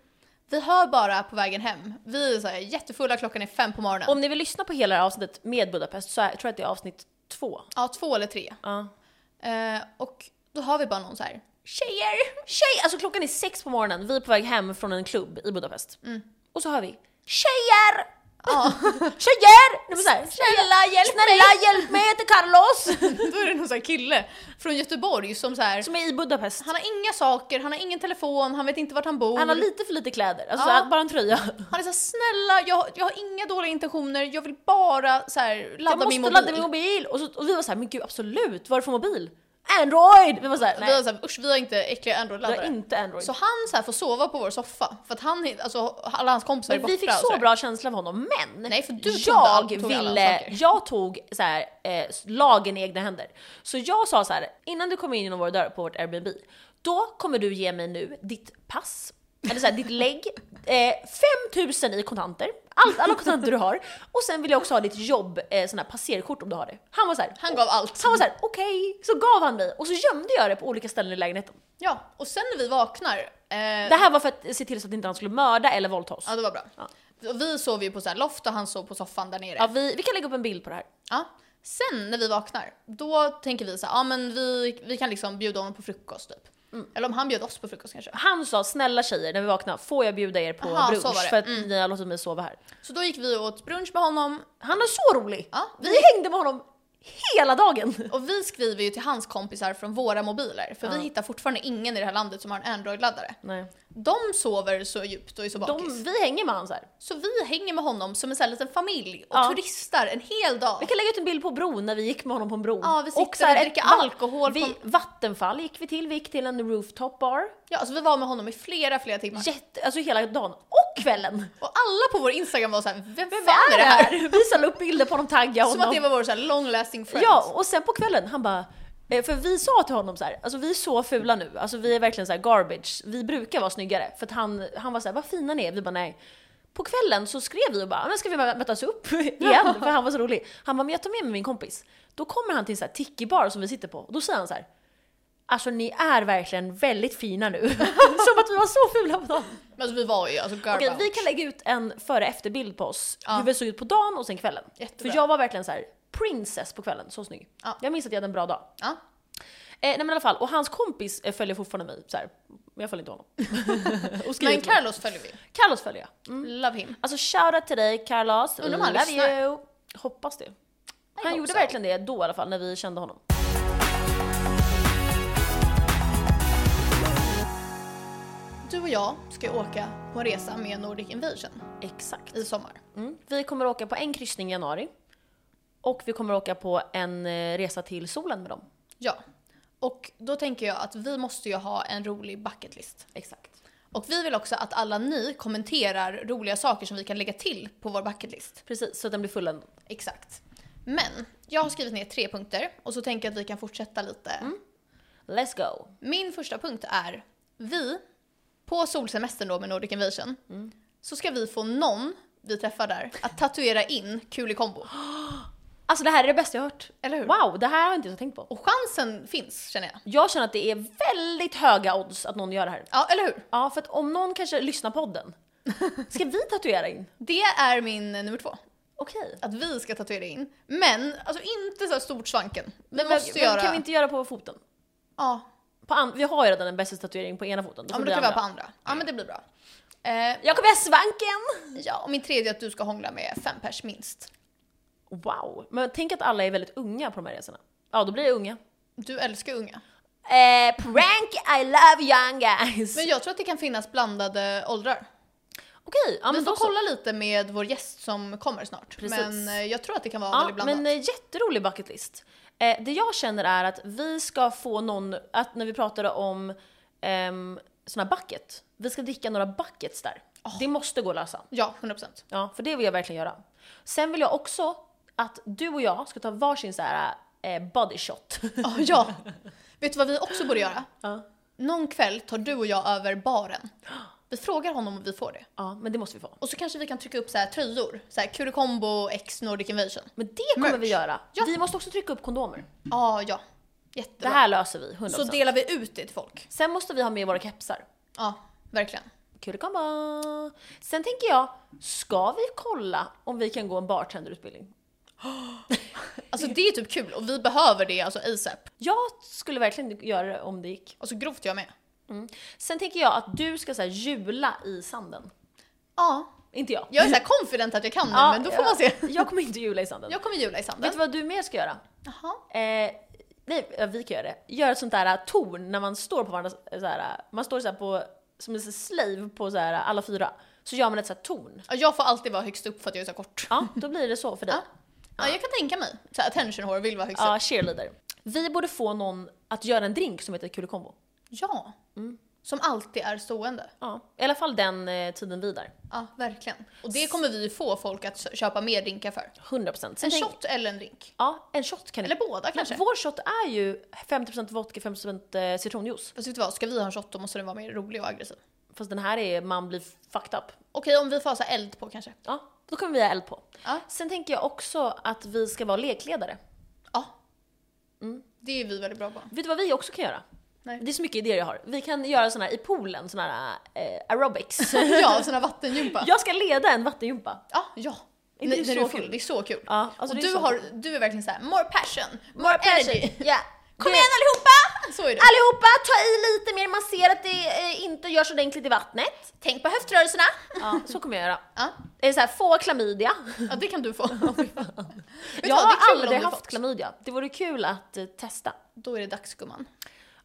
Speaker 1: Vi hör bara på vägen hem. Vi är så här, jättefulla, klockan är fem på morgonen.
Speaker 2: Om ni vill lyssna på hela det här avsnittet med Budapest så är, tror jag att det är avsnitt två.
Speaker 1: Ja, två eller tre.
Speaker 2: Ja.
Speaker 1: Eh, och då har vi bara någon så här, tjejer!
Speaker 2: Tjej! Alltså klockan är sex på morgonen, vi är på väg hem från en klubb i Budapest. Och så hör vi Tjejer!
Speaker 1: Mm. Ja,
Speaker 2: Tjejer! Nej, men så här,
Speaker 1: snälla hjälp
Speaker 2: Snälla hjälp mig, jag heter Carlos!
Speaker 1: mig! Då är det någon så här kille från Göteborg som så här,
Speaker 2: Som är i Budapest.
Speaker 1: han har inga saker, han har ingen telefon, han vet inte vart han bor.
Speaker 2: Han har lite för lite kläder, alltså
Speaker 1: Ja.
Speaker 2: så här, bara en tröja.
Speaker 1: Han är såhär, snälla jag, jag har inga dåliga intentioner, jag vill bara så här, ladda
Speaker 2: jag måste
Speaker 1: min mobil.
Speaker 2: ladda min mobil! Och, så, och vi var så här, men gud absolut, vad är det för mobil? Android! Vi var så här,
Speaker 1: Vi var
Speaker 2: nej.
Speaker 1: såhär, usch vi har inte äckliga
Speaker 2: Det var
Speaker 1: Android-laddare.
Speaker 2: inte Android.
Speaker 1: Så han så här får sova på vår soffa, för att han, alltså alla hans kompisar är
Speaker 2: Men
Speaker 1: borta.
Speaker 2: vi fick
Speaker 1: och
Speaker 2: så
Speaker 1: här.
Speaker 2: bra känsla av honom, men
Speaker 1: Nej, för du tog all-
Speaker 2: jag
Speaker 1: tog alla
Speaker 2: ville,
Speaker 1: saker.
Speaker 2: jag tog så här, eh, lagen i egna händer. Så jag sa så här, innan du kommer in genom vår dörr på vårt Airbnb, då kommer du ge mig nu ditt pass, eller så här, ditt lägg, eh, 5000 i kontanter, allt, alla kontanter du har, och sen vill jag också ha ditt jobb, eh, sån här passerkort om du har det. Han var så här,
Speaker 1: Han gav allt.
Speaker 2: han var så här, okej, så gav han mig och så gömde jag det på olika ställen i lägenheten.
Speaker 1: Ja, och sen när vi vaknar, eh,
Speaker 2: Det här var för att se till så att inte han skulle mörda eller våldta oss.
Speaker 1: ja det var bra.
Speaker 2: Ja.
Speaker 1: Och Vi sov ju på så här loft och han sov på soffan där nere.
Speaker 2: Ja, vi, vi kan lägga upp en bild på det här.
Speaker 1: Ja. Sen när vi vaknar, då tänker vi så här, ja men vi, vi kan liksom bjuda honom på frukost typ.
Speaker 2: Mm.
Speaker 1: Eller om han bjöd oss på frukost kanske.
Speaker 2: Han sa snälla tjejer när vi vaknar, får jag bjuda er på
Speaker 1: Aha, så var
Speaker 2: brunch
Speaker 1: det. Mm.
Speaker 2: för att ni har låtit mig sova här.
Speaker 1: Så då gick vi och åt brunch med honom
Speaker 2: Han är så rolig!
Speaker 1: Ja.
Speaker 2: Vi hängde med honom hela dagen!
Speaker 1: och vi skriver ju till hans kompisar från våra mobiler för vi hittar fortfarande ingen i det här landet som har en Android-laddare.
Speaker 2: Nej.
Speaker 1: De sover så djupt och är så bakis.
Speaker 2: De, vi hänger med honom så här.
Speaker 1: Så vi hänger med honom som en sån här liten familj och
Speaker 2: Ja.
Speaker 1: turistar en hel
Speaker 2: Vi
Speaker 1: dag.
Speaker 2: kan lägga ut en bild på bron när vi gick med honom på en bro.
Speaker 1: Ja, vi sitter och
Speaker 2: ett
Speaker 1: dricker
Speaker 2: va-
Speaker 1: alkohol på-
Speaker 2: Vi, Vattenfall gick vi till, vi gick till en rooftop bar.
Speaker 1: Ja, alltså vi var med honom i flera, flera timmar.
Speaker 2: Jätte, alltså hela dagen och kvällen!
Speaker 1: Och alla på vår Instagram var såhär, vem, vem fan är det här?
Speaker 2: Vi la upp bilder på honom, taggade honom.
Speaker 1: Som att det var vår så här long lasting friends.
Speaker 2: Ja, och sen på kvällen han bara eh, för vi sa till honom så här, alltså vi är så fula nu, alltså vi är verkligen så här garbage, vi brukar vara snyggare. För att han, han var så här, vad fina ni är, vi bara nej. På kvällen så skrev vi och bara, men ska vi mö- mötas upp igen? För han var så rolig. Han bara, men jag tar med mig min kompis. Då kommer han till en så här tiki-bar som vi sitter på och då säger han så här, alltså ni är verkligen väldigt fina nu. som att vi var så fula på dagen.
Speaker 1: Men alltså vi var ju alltså garbage.
Speaker 2: Okej, vi kan lägga ut en före och efterbild på oss. Hur vi såg ut på dagen och sen kvällen.
Speaker 1: Jättebra.
Speaker 2: För jag var verkligen så här princess på kvällen, så snygg.
Speaker 1: Ja.
Speaker 2: Jag minns att jag hade en bra dag.
Speaker 1: Ja.
Speaker 2: Eh, nej men i alla fall, och hans kompis eh, följer fortfarande mig. Så här. Men jag följer inte honom. och skriver
Speaker 1: Men
Speaker 2: till mig.
Speaker 1: Carlos följer vi.
Speaker 2: Carlos följer jag. Mm.
Speaker 1: Love him.
Speaker 2: Alltså shoutout till dig Carlos,
Speaker 1: Undrar om han
Speaker 2: love
Speaker 1: lyssnar.
Speaker 2: you. Hoppas det. Han
Speaker 1: hope
Speaker 2: gjorde
Speaker 1: so.
Speaker 2: verkligen det då i alla fall, när vi kände honom.
Speaker 1: Du och jag ska ju åka på en resa med Nordic Invasion
Speaker 2: Exakt.
Speaker 1: i sommar.
Speaker 2: Mm. Vi kommer åka på en kryssning i januari. Och vi kommer åka på en eh, resa till solen med dem.
Speaker 1: Ja. Och då tänker jag att vi måste ju ha en rolig bucketlist.
Speaker 2: Exakt.
Speaker 1: Och vi vill också att alla ni kommenterar roliga saker som vi kan lägga till på vår bucketlist.
Speaker 2: Precis, så att den blir full ändå.
Speaker 1: Exakt. Men jag har skrivit ner tre punkter och så tänker jag att vi kan fortsätta lite.
Speaker 2: Let's go!
Speaker 1: Min första punkt är, vi, på solsemestern då med Nordic Invasion, så ska vi få någon vi träffar där att tatuera in kul i kombo.
Speaker 2: Alltså det här är det bästa jag har hört.
Speaker 1: Eller hur?
Speaker 2: Wow, det här har jag inte ens tänkt på.
Speaker 1: Och chansen finns känner jag.
Speaker 2: Jag känner att det är väldigt höga odds att någon gör det här.
Speaker 1: Ja, eller hur?
Speaker 2: Ja, för att om någon kanske lyssnar på podden, ska vi tatuera in?
Speaker 1: Det är min eh, nummer två.
Speaker 2: Okej.
Speaker 1: Att vi ska tatuera in. Men alltså inte så här stort svanken. Vi måste
Speaker 2: men,
Speaker 1: göra...
Speaker 2: kan vi inte göra på foten?
Speaker 1: Ja,
Speaker 2: På an- vi har ju redan en bästa tatuering på ena foten. Då
Speaker 1: ja
Speaker 2: får
Speaker 1: men
Speaker 2: det
Speaker 1: då kan vi
Speaker 2: andra.
Speaker 1: ha på andra. Ja men det blir bra. Eh,
Speaker 2: Jag kommer göra svanken!
Speaker 1: ja, och min tredje är att du ska hångla med fem pers minst.
Speaker 2: Wow. Men tänk att alla är väldigt unga på de här resorna. Ja, då blir jag unga.
Speaker 1: Du älskar unga.
Speaker 2: Eh, prank, I love young guys!
Speaker 1: Men jag tror att det kan finnas blandade åldrar.
Speaker 2: Okej, ja
Speaker 1: Vi
Speaker 2: men
Speaker 1: får
Speaker 2: då så.
Speaker 1: kolla lite med vår gäst som kommer snart.
Speaker 2: Precis.
Speaker 1: Men eh, jag tror att det kan vara
Speaker 2: Ja,
Speaker 1: väldigt blandat.
Speaker 2: men eh, jätterolig bucketlist. Eh, det jag känner är att vi ska få någon, att när vi pratade om um, såna här bucket, vi ska dricka några buckets där. Det måste gå att lösa.
Speaker 1: Ja, 100%.
Speaker 2: Ja, för det vill jag verkligen göra. Sen vill jag också att du och jag ska ta varsin så här eh, body shot.
Speaker 1: Ja, ja. Vet du vad vi också borde göra?
Speaker 2: ja.
Speaker 1: Någon kväll tar du och jag över baren. Vi frågar honom om vi får det.
Speaker 2: ja, men det måste vi få.
Speaker 1: Och så kanske vi kan trycka upp så här tröjor. Så här Kurikombo X Nordic Invasion.
Speaker 2: Mm. Men det kommer
Speaker 1: Merch.
Speaker 2: vi göra.
Speaker 1: Ja.
Speaker 2: Vi måste också trycka upp kondomer.
Speaker 1: Ja, ja.
Speaker 2: Det
Speaker 1: Jättebra.
Speaker 2: här löser vi, 100%.
Speaker 1: så delar vi ut det till folk.
Speaker 2: Sen måste vi ha med våra kepsar.
Speaker 1: Ja, verkligen.
Speaker 2: Kulikomba! Sen tänker jag, ska vi kolla om vi kan gå en bartenderutbildning?
Speaker 1: Alltså det är typ kul och vi behöver det alltså ASAP.
Speaker 2: Jag skulle verkligen göra det om det gick.
Speaker 1: Alltså grovt jag med.
Speaker 2: Sen tänker jag att du ska så här, jula i sanden.
Speaker 1: Ja.
Speaker 2: Inte jag.
Speaker 1: Jag är såhär confident att jag kan det
Speaker 2: Ja,
Speaker 1: men då får
Speaker 2: jag-
Speaker 1: man se.
Speaker 2: Jag kommer inte jula i sanden.
Speaker 1: Jag kommer jula i sanden.
Speaker 2: Vet du vad du mer ska göra?
Speaker 1: Jaha.
Speaker 2: Eh, nej, ja, vi kan göra det. Gör ett sånt där eh, torn när man står på varandra, eh, så här, eh, man står så här på, som en sån här slave på så här, eh, alla fyra. Så gör man ett så här torn.
Speaker 1: Ja, Jag får alltid vara högst upp för att jag är så kort.
Speaker 2: Ja, då blir det så för dig.
Speaker 1: Ja. Ja, jag kan tänka mig. Så här, attention whore vill vara högst
Speaker 2: Ja,
Speaker 1: upp.
Speaker 2: cheerleader. Vi borde få någon att göra en drink som heter Kulikombo.
Speaker 1: Ja. Mm. Som alltid är stående.
Speaker 2: Ja, i alla fall den eh, tiden vi är där.
Speaker 1: Ja, verkligen. Och det kommer vi ju få folk att s- köpa mer drinkar för.
Speaker 2: 100%. Sen
Speaker 1: En
Speaker 2: tänk-
Speaker 1: shot eller en drink.
Speaker 2: Ja, en shot kan
Speaker 1: Eller
Speaker 2: du.
Speaker 1: båda kanske.
Speaker 2: Vår shot är ju 50% vodka, 50% eh, citronjuice.
Speaker 1: Fast Alltså, vet du vad, ska vi ha en shot då måste den vara mer rolig och aggressiv.
Speaker 2: Fast den här är man blir fucked up.
Speaker 1: Okej, om vi får ha så här eld på kanske.
Speaker 2: Ja, då kommer vi ha eld på.
Speaker 1: Ja.
Speaker 2: Sen tänker jag också att vi ska vara lekledare.
Speaker 1: Ja. Mm, Det är vi väldigt bra på.
Speaker 2: Vet du vad vi också kan göra?
Speaker 1: Nej.
Speaker 2: Det är så mycket idéer jag har. Vi kan göra såna här i poolen, såna här eh, aerobics.
Speaker 1: Ja, sån här vattengympa.
Speaker 2: jag ska leda en vattenjumpa.
Speaker 1: Ja, ja.
Speaker 2: Det
Speaker 1: Det
Speaker 2: är
Speaker 1: är,
Speaker 2: så
Speaker 1: när du är
Speaker 2: kul.
Speaker 1: full. Det är så kul.
Speaker 2: Ja, alltså
Speaker 1: och
Speaker 2: det är
Speaker 1: du,
Speaker 2: så
Speaker 1: har,
Speaker 2: kul.
Speaker 1: du är verkligen så här: more passion, more energy.
Speaker 2: Ja.
Speaker 1: Kom igen allihopa! Så är det.
Speaker 2: Allihopa, ta i lite mer, man ser att det eh, inte görs ordentligt i vattnet.
Speaker 1: Tänk på höftrörelserna.
Speaker 2: Ja, så kommer jag göra.
Speaker 1: Ja,
Speaker 2: Eh, Så här, få klamydia.
Speaker 1: ja det kan du få.
Speaker 2: Jag
Speaker 1: vad, det är
Speaker 2: har
Speaker 1: kul om
Speaker 2: aldrig
Speaker 1: du
Speaker 2: haft
Speaker 1: fått.
Speaker 2: klamydia. Det vore kul att eh, testa.
Speaker 1: Då är det dags gumman.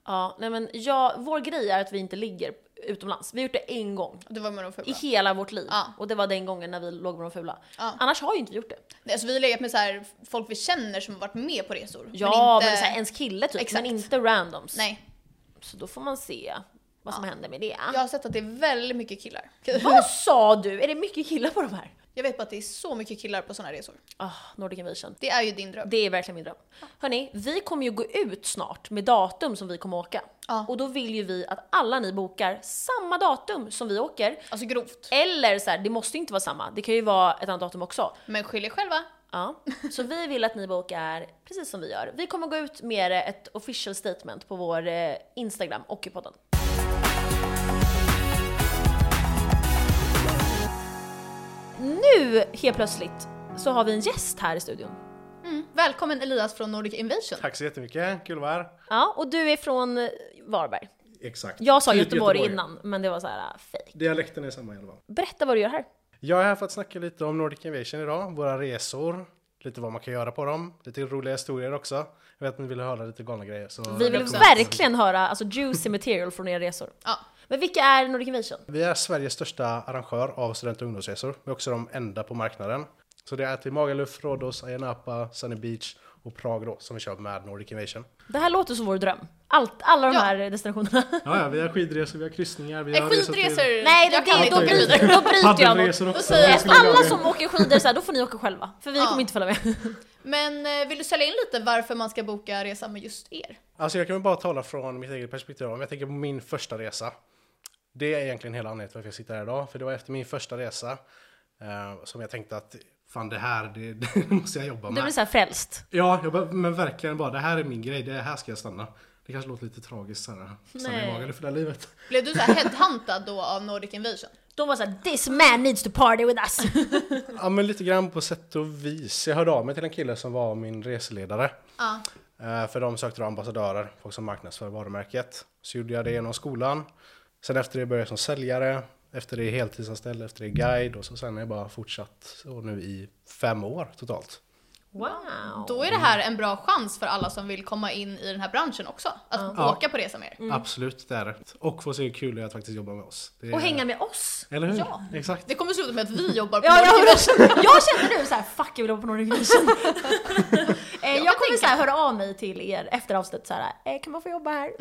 Speaker 2: Ja, nej men jag, vår grej är att vi inte ligger utomlands. Vi har gjort det en gång
Speaker 1: Det var med de
Speaker 2: i
Speaker 1: fula.
Speaker 2: hela vårt liv.
Speaker 1: Ja.
Speaker 2: Och det var den gången när vi låg med de fula.
Speaker 1: Ja.
Speaker 2: Annars har ju inte vi gjort det.
Speaker 1: Nej, Alltså, vi har legat med så här, folk vi känner som har varit med på resor.
Speaker 2: Ja, men, så här, ens kille typ,
Speaker 1: Exakt.
Speaker 2: men inte randoms.
Speaker 1: Nej,
Speaker 2: Så då får man se vad som händer med det.
Speaker 1: jag har sett att det är väldigt mycket killar.
Speaker 2: Vad sa du? Är det mycket killar på de här?
Speaker 1: Jag vet bara att det är så mycket killar på såna resor.
Speaker 2: Ah, Nordic Invasion.
Speaker 1: Det är ju din dröm.
Speaker 2: Det är verkligen min dröm. Hörni, vi kommer ju gå ut snart med datum som vi kommer åka.
Speaker 1: Ja.
Speaker 2: Och då vill ju vi att alla ni bokar samma datum som vi åker.
Speaker 1: Alltså grovt.
Speaker 2: Eller så här, det måste inte vara samma, det kan ju vara ett annat datum också.
Speaker 1: Men skyll er själva.
Speaker 2: Ja. Så vi vill att ni bokar precis som vi gör. Vi kommer gå ut med ett official statement på vår eh, Instagram och i podden. Nu helt plötsligt så har vi en gäst här i studion.
Speaker 1: Välkommen Elias från Nordic Invasion.
Speaker 4: Tack så jättemycket, kul att vara här.
Speaker 2: Ja, och du är från eh, Varberg.
Speaker 4: Exakt. Typ
Speaker 2: Jag sa Göteborg, innan, men det var så här äh, fake.
Speaker 4: Dialekten är samma i alla fall.
Speaker 2: Berätta vad du gör här.
Speaker 4: Jag är här för att snacka lite om Nordic Invasion idag, våra resor, lite vad man kan göra på dem, lite roliga historier också. Jag vet att ni vill höra lite galna grejer. Så
Speaker 2: Vi vill
Speaker 4: välkomna.
Speaker 2: verkligen höra alltså, juicy material från era resor.
Speaker 1: Ja.
Speaker 2: Men vilka är Nordic Invasion?
Speaker 4: Vi är Sveriges största arrangör av student och ungdomsresor. Vi är också de enda på marknaden. Så det är till Magaluf, Rhodos, Ayia Napa, Sunny Beach och Prag då, som vi kör med Nordic Invasion.
Speaker 2: Det här låter som vår dröm. Allt, alla de
Speaker 1: Ja.
Speaker 2: här destinationerna.
Speaker 4: Ja, ja, vi har skidresor, vi har kryssningar, vi
Speaker 1: Nej,
Speaker 2: Eh,
Speaker 4: har
Speaker 1: Eh, skidresor!
Speaker 2: Nej, det,
Speaker 1: Jag kan
Speaker 2: det, då,
Speaker 1: inte.
Speaker 4: blir-
Speaker 2: bryter, då bryter jag mot.
Speaker 4: Paddelresor också.
Speaker 1: säger jag,
Speaker 4: Jag skulle vilja
Speaker 2: Alla
Speaker 4: ha det.
Speaker 2: som åker skidor så här, då får ni åka själva. För vi
Speaker 1: Ja.
Speaker 2: kommer inte följa med.
Speaker 1: Men eh, vill du sälja in lite varför man ska boka resa med just er?
Speaker 4: Alltså jag kan väl bara tala från mitt eget perspektiv. Om jag tänker på min första resa. Det är egentligen hela anledningen till varför jag sitter här idag. För det var efter min första resa eh, som jag tänkte att fan det här, det, det måste jag jobba
Speaker 2: Du blir
Speaker 4: med.
Speaker 2: så här frälst.
Speaker 4: Ja, jag bara, men verkligen bara det här är min grej, det här ska jag stanna. Det kanske låter lite tragiskt så här, stanna
Speaker 2: Nej.
Speaker 4: i magen för det här livet.
Speaker 1: Blev du så här headhuntad då av Nordic Invasion?
Speaker 2: De var så här, this man needs to party with us.
Speaker 4: Ja men lite grann på sätt och vis. Jag hörde av mig till en kille som var min reseledare.
Speaker 1: Ja.
Speaker 4: Eh, För de sökte då ambassadörer, folk som marknadsför varumärket. Så gjorde jag det genom skolan. Sen efter det började jag som säljare, efter det heltidsanställd, efter det guide och så sen har jag bara fortsatt och nu i fem år totalt.
Speaker 2: Wow.
Speaker 1: Då är det här en bra chans för alla som vill komma in i den här branschen också. Att
Speaker 4: Ja.
Speaker 1: åka på resa med er.
Speaker 2: Mm.
Speaker 4: Absolut, det är det. Och få se hur kul det är att faktiskt jobba med oss. Det är,
Speaker 2: Och hänga med oss.
Speaker 4: Eller hur?
Speaker 1: Ja.
Speaker 4: Exakt.
Speaker 1: Det kommer sluta med att vi jobbar på
Speaker 2: Ja,
Speaker 1: Nordic
Speaker 2: jag,
Speaker 1: Invasion.
Speaker 2: jag kände nu så här, fuck jag vill jobba på Nordic Invasion. Eh, jag kommer så här, höra av mig till er efter avsnittet så här, eh, kan man få jobba här?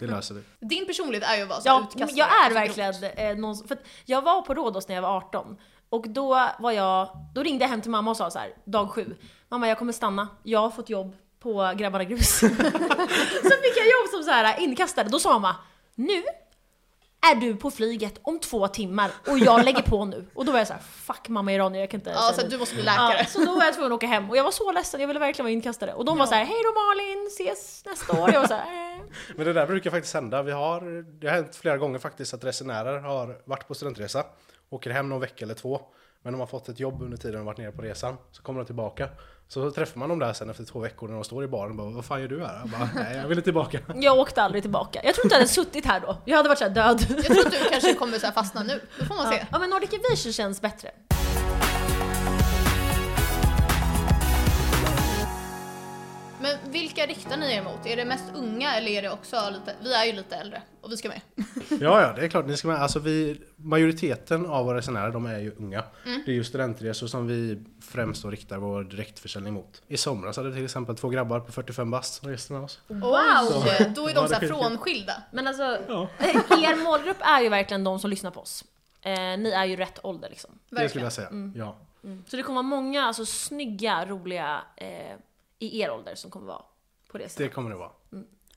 Speaker 4: Det löser vi.
Speaker 1: Din personlighet är ju att vara så
Speaker 2: Ja,
Speaker 1: utkastare.
Speaker 2: jag är
Speaker 1: Alltså,
Speaker 2: verkligen eh, någon, som- för att jag var på Rhodos när jag var 18 och då var jag, då ringde jag hem till mamma och sa så här, dag sju, mamma jag kommer stanna, jag har fått jobb på Grabbarna Grus. så fick jag jobb som så här inkastare, då sa mamma, nu är du på flyget om två timmar och jag lägger på nu. Och då var jag så här, fuck mamma iranier, jag kan inte
Speaker 1: Ja, så
Speaker 2: säga
Speaker 1: att du
Speaker 2: nej.
Speaker 1: måste bli
Speaker 2: Ja,
Speaker 1: läkare.
Speaker 2: så då var jag tvungen att åka hem och jag var så ledsen, jag ville verkligen vara inkastare. Och de var så här, hej då Malin, ses nästa år. Jag var så här, eh.
Speaker 4: Men det där brukar faktiskt hända. Vi har, det har hänt flera gånger faktiskt att resenärer har varit på studentresa, åker hem någon vecka eller två, men de har fått ett jobb under tiden de varit nere på resan, så kommer de tillbaka. Så träffar man dem där sen efter två veckor när de står i baren och bara Vad fan gör du här? Jag bara, Nej, jag ville tillbaka.
Speaker 2: Jag åkte aldrig tillbaka. Jag tror inte jag hade suttit här då. Jag hade varit så här död.
Speaker 1: Jag tror att du kanske kommer så här fastna nu. Då får man se.
Speaker 2: Ja men Nordic Aviation känns bättre.
Speaker 1: Men vilka riktar ni er mot? Är det mest unga eller är det också lite, vi är ju lite äldre och vi ska med.
Speaker 4: Ja, ja, det är klart. Ni ska med. Alltså, vi, majoriteten av våra resenärer de är ju unga. Det är ju studentresor som vi främst då riktar vår direktförsäljning mot. I somras hade vi till exempel två grabbar på 45 bast som reste med oss.
Speaker 1: Wow! Då är de
Speaker 4: Ja,
Speaker 1: så
Speaker 4: det
Speaker 1: här
Speaker 4: skiljer.
Speaker 1: frånskilda.
Speaker 2: Men alltså,
Speaker 4: Ja.
Speaker 2: er målgrupp är ju verkligen de som lyssnar på oss. Eh, ni är ju rätt ålder liksom.
Speaker 4: Det skulle
Speaker 1: Verkligen.
Speaker 4: jag säga. Ja.
Speaker 1: Mm.
Speaker 2: Så det kommer vara många alltså, snygga, roliga eh, i er ålder som kommer vara på resan.
Speaker 4: Det kommer det vara.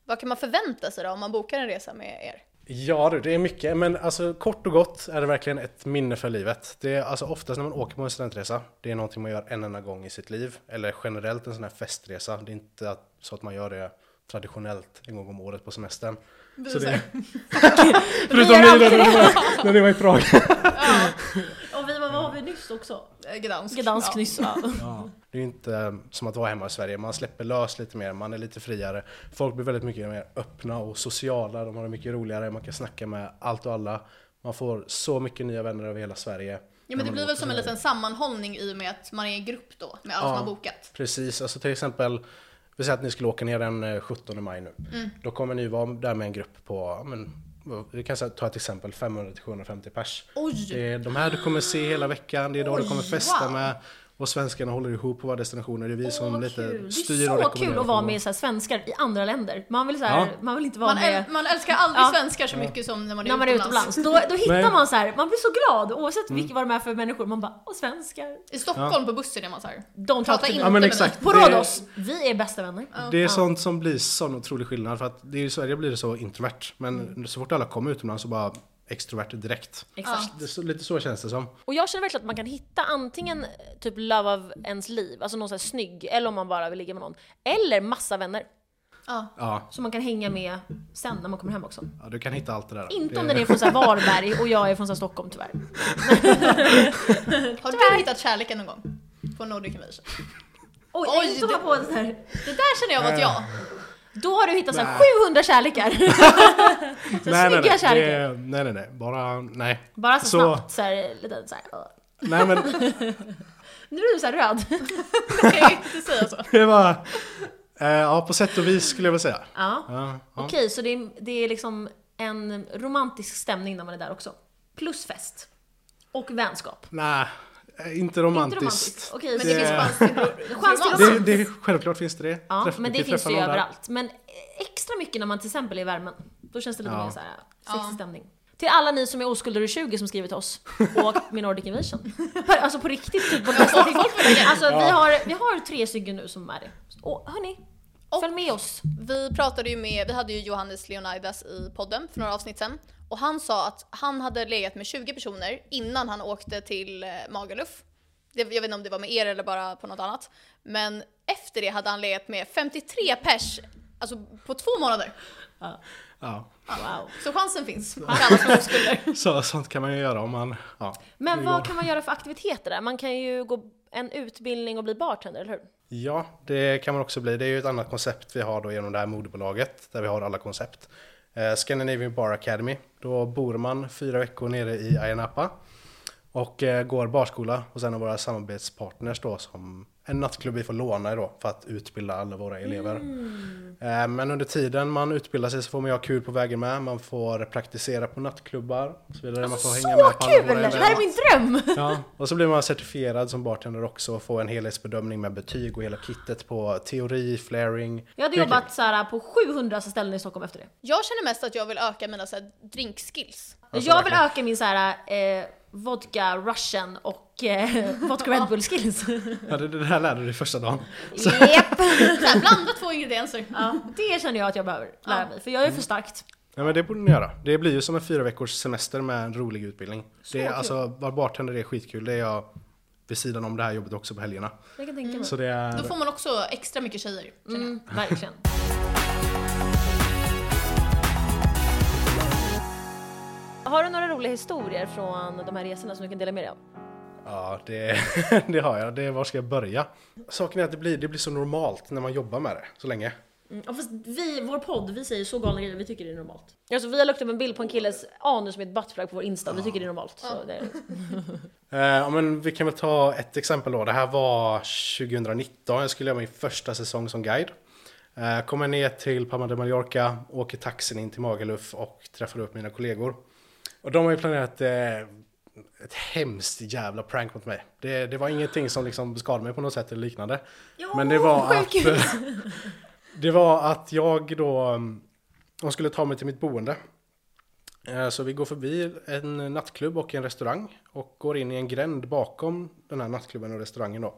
Speaker 1: Vad kan man förvänta sig då om man bokar en resa med er?
Speaker 4: Ja du, det är mycket. Men alltså, kort och gott är det verkligen ett minne för livet. Det är alltså oftast när man åker på en studentresa, det är någonting man gör en enda gång i sitt liv. Eller generellt en sån här festresa. Det är inte att, så att man gör det traditionellt en gång om året på semestern. Så det, förutom ni då, när ni var- när ni var i Prag.
Speaker 2: Och vi var, vad har vi nyss också?
Speaker 1: Eh, Gdansk.
Speaker 2: Gdansk
Speaker 1: Ja.
Speaker 2: nyss va?
Speaker 4: Det är ju inte eh, som att vara hemma i Sverige. Man släpper lös lite mer, man är lite friare. Folk blir väldigt mycket mer öppna och sociala. De har det mycket roligare, man kan snacka med allt och alla. Man får så mycket nya vänner över hela Sverige.
Speaker 1: Ja
Speaker 4: När
Speaker 1: men det
Speaker 4: man
Speaker 1: blir
Speaker 4: åker
Speaker 1: väl som en
Speaker 4: så här.
Speaker 1: liten sammanhållning i och med att man är i grupp då med alla som
Speaker 4: Ja.
Speaker 1: har bokat.
Speaker 4: Precis, alltså till exempel, vi säger att ni skulle åka ner den eh, 17 maj nu.
Speaker 2: Mm.
Speaker 4: Då kommer ni vara där med en grupp på, ja, men, vi kan säga- ta ett exempel, 500-750 pers.
Speaker 1: Oj!
Speaker 4: Det är de här du kommer se hela veckan, det är de du
Speaker 1: Oj,
Speaker 4: kommer festa
Speaker 1: wow.
Speaker 4: med. Och svenskarna håller ihop på våra destinationer, det är vi
Speaker 2: Åh,
Speaker 4: som
Speaker 2: vad
Speaker 4: lite
Speaker 2: kul. Det
Speaker 4: styr
Speaker 2: är
Speaker 4: och
Speaker 2: så
Speaker 4: rekommenderar
Speaker 2: kul att vara
Speaker 4: folk.
Speaker 2: med så här, svenskar i andra länder. Man vill, så här,
Speaker 4: Ja.
Speaker 2: man vill inte vara
Speaker 1: Man,
Speaker 2: med
Speaker 1: äl- man älskar aldrig
Speaker 2: Ja.
Speaker 1: svenskar så mycket som när man är
Speaker 2: när man är utomlands. Då, då hittar
Speaker 4: Nej.
Speaker 2: man så här, man blir så glad oavsett
Speaker 4: Mm.
Speaker 2: vilka vad de är för människor. Man bara, åh svenskar.
Speaker 1: I Stockholm på bussen är man såhär.
Speaker 2: De
Speaker 1: Prata
Speaker 2: pratar inte.
Speaker 1: inte
Speaker 4: Ja, men
Speaker 1: med
Speaker 4: exakt.
Speaker 2: På
Speaker 4: Det-
Speaker 2: Rhodos, vi är bästa vänner.
Speaker 4: Det är sånt som blir sån otrolig skillnad för att det är, i Sverige blir det så introvert men
Speaker 2: Mm.
Speaker 4: så fort alla kommer utomlands så bara extrovert direkt.
Speaker 2: Exakt.
Speaker 4: Det är så, lite så känns det som.
Speaker 2: Och jag känner verkligen att man kan hitta antingen eh, typ love of ens liv, alltså någon sån här snygg, eller om man bara vill ligga med någon. Eller massa vänner.
Speaker 1: Ja.
Speaker 4: Ja,
Speaker 2: Som man kan hänga med sen när man kommer hem också.
Speaker 4: ja du kan hitta allt det där.
Speaker 2: Inte om
Speaker 4: Det-
Speaker 2: den är från så här Varberg och jag är från så här Stockholm tyvärr.
Speaker 1: Har du hittat kärleken någon gång? På Nordic Invasion?
Speaker 2: Oj,
Speaker 1: Oj,
Speaker 2: inte det...
Speaker 1: det-
Speaker 2: på en sån här.
Speaker 1: Det där känner jag var ett ja.
Speaker 2: Då har du hittat så här
Speaker 4: Nej.
Speaker 2: 700 kärlekar. så
Speaker 4: Nej, nej,
Speaker 2: snygga
Speaker 4: nej. Det
Speaker 2: kärlekar.
Speaker 4: är- nej, nej, nej. Bara nej.
Speaker 2: Bara så, snabbt så här, lite så här. "Åh."
Speaker 4: Nej, men
Speaker 2: Nu är du så här röd.
Speaker 1: Jag kan ju inte säga så.
Speaker 4: det var... Eh, ja, på sätt och vis skulle jag vilja säga.
Speaker 2: Ja.
Speaker 4: Ja, ja.
Speaker 2: Okej, så det är, det är liksom en romantisk stämning när man är där också. Plus fest. Och vänskap.
Speaker 4: Nej, eh, inte romantiskt.
Speaker 2: romantiskt. Okej,
Speaker 1: Men det finns chans till
Speaker 2: Chans till
Speaker 1: romans.
Speaker 4: det, det, självklart finns det det.
Speaker 2: Ja,
Speaker 4: Träff-
Speaker 2: men
Speaker 4: vi
Speaker 2: det
Speaker 4: träffar
Speaker 2: finns det ju
Speaker 4: någon där.
Speaker 2: överallt. Men extra mycket när man till exempel är i värmen. Då känns det lite
Speaker 4: Ja.
Speaker 2: mer såhär sexig stämning. Till alla ni som är oskulder i 20 som skrivit till oss och åkt med Nordic Invasion. Alltså på riktigt, typ på nästa timme. Alltså vi har, vi har tre stycken nu som är det. Och hörni,
Speaker 1: Och-
Speaker 2: följ med oss.
Speaker 1: Vi pratade ju med, vi hade ju Johannes Leonidas i podden för några avsnitt sen och han sa att han hade legat med 20 personer innan han åkte till eh, Magaluf. Det, jag vet inte om det var med er eller bara på något annat. Men efter det hade han legat med 53 pers, alltså på två månader.
Speaker 4: Ja,
Speaker 2: Wow.
Speaker 1: Så chansen finns. för alla som skulle.
Speaker 4: så, sånt kan man ju göra om man... Ja.
Speaker 2: Men vad kan man göra för aktiviteter där? Man kan ju gå en utbildning och bli bartender, eller hur?
Speaker 4: Ja, det kan man också bli. Det är ju ett annat koncept vi har då genom det här moderbolaget där vi har alla koncept. Eh, Scandinavian Bar Academy, då bor man fyra veckor nere i Ayia Napa och eh, går barskola och sen har våra samarbetspartners då som en nattklubb vi får låna då för att utbilda alla våra elever.
Speaker 2: Mm.
Speaker 4: Eh, Men under tiden man utbildar sig så får man ju ha kul på vägen med, man får praktisera på nattklubbar och så vidare. man får hänga
Speaker 2: Så
Speaker 4: med på alla
Speaker 2: kul!
Speaker 4: våra
Speaker 2: Det
Speaker 4: event.
Speaker 2: här är min dröm!
Speaker 4: Ja, och så blir man certifierad som bartender också och får en helhetsbedömning med betyg och hela kittet på teori, flaring.
Speaker 2: Jag hade
Speaker 4: Det är kul.
Speaker 2: jobbat så här på 700 ställen i Stockholm efter det.
Speaker 1: Jag känner mest att jag vill öka mina så här, drinkskills.
Speaker 4: Alltså,
Speaker 2: jag vill
Speaker 4: verkligen.
Speaker 2: öka min så här, eh, vodka russian och eh, vodka Red Bull skills.
Speaker 4: Ja, det, det där lärde du dig första dagen.
Speaker 2: Japp!
Speaker 1: Så här, blanda två ingredienser.
Speaker 5: Mm.
Speaker 2: Ja, det känner jag att jag behöver lära mig, för jag är för starkt.
Speaker 4: Nej men det borde ni göra. Det blir ju som en fyra veckors semester med en rolig utbildning. det är,
Speaker 2: kul.
Speaker 4: alltså, vara bartender är skitkul. Det är jag vid sidan om det här jobbet också på helgerna.
Speaker 2: Jag kan tänka mig.
Speaker 4: Så det är...
Speaker 1: Då får man också extra mycket tjejer. känner jag.
Speaker 2: Mm, verkligen. Har du några roliga historier från de här resorna som du kan dela med dig av?
Speaker 5: Mm,
Speaker 4: Ja, det, det har jag. Det är, var ska jag börja? Saken är att det blir, det blir så normalt när man jobbar med det så länge.
Speaker 5: Mm, ja, fast vi, vår podd, vi säger så galna grejer, vi tycker det är normalt.
Speaker 2: Alltså, vi har lagt upp en bild på en killes anus med ett buttplug på vår Insta, vi tycker det är normalt. Så det är...
Speaker 4: Eh, ja, men vi kan väl ta ett exempel då. Det här var 2019. Jag skulle göra min första säsong som guide. Eh, kommer ner till Palma de Mallorca, åker taxin in till Magaluf och träffar upp mina kollegor. Och de har ju planerat eh, ett hemskt jävla prank mot mig. Det, det var ingenting som liksom skadade mig på något sätt eller liknande. men det var att... det var att jag då... mm, De skulle ta mig till mitt boende. Eh, Så vi går förbi en nattklubb och en restaurang och går in i en gränd bakom den här nattklubben och restaurangen då.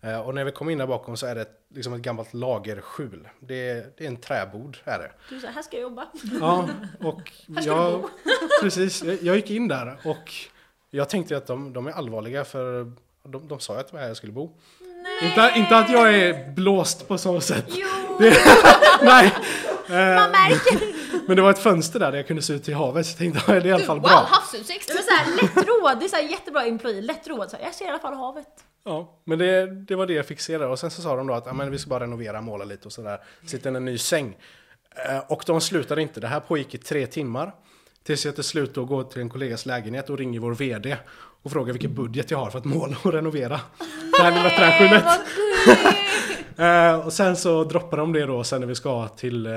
Speaker 4: Eh, Och när vi kommer in där bakom så är det ett- liksom ett gammalt lagerskjul. Det är, det är en träbod är det.
Speaker 5: Du säger, här ska jag jobba.
Speaker 4: Ja, och jag, precis, jag- jag gick in där och jag tänkte att de, de är allvarliga för de, de sa ju att det var här jag skulle bo. Inte, inte att jag är blåst på så sätt. Det, nej. Eh, men det var ett fönster där, där jag kunde se ut till havet så jag tänkte att det är i alla fall
Speaker 1: wow,
Speaker 4: bra.
Speaker 1: havsutsikt!
Speaker 5: Ja, men så här, lättroad, det är så här jättebra employee, lättroad. Så här, jag ser i alla fall havet.
Speaker 4: Ja, men det, det var det jag fick se där. Och sen så sa de då att "Ja, men vi ska bara renovera, måla lite och sådär. Sitta i en ny säng. Eh, Och de slutade inte. Det här pågick i tre timmar. Tills jag till slut då går till en kollegas lägenhet och ringer vår VD och frågar vilken budget jag har för att måla och renovera. Det här lilla träskyddet. Eh, och sen så droppar de det då sen när vi ska till, eh,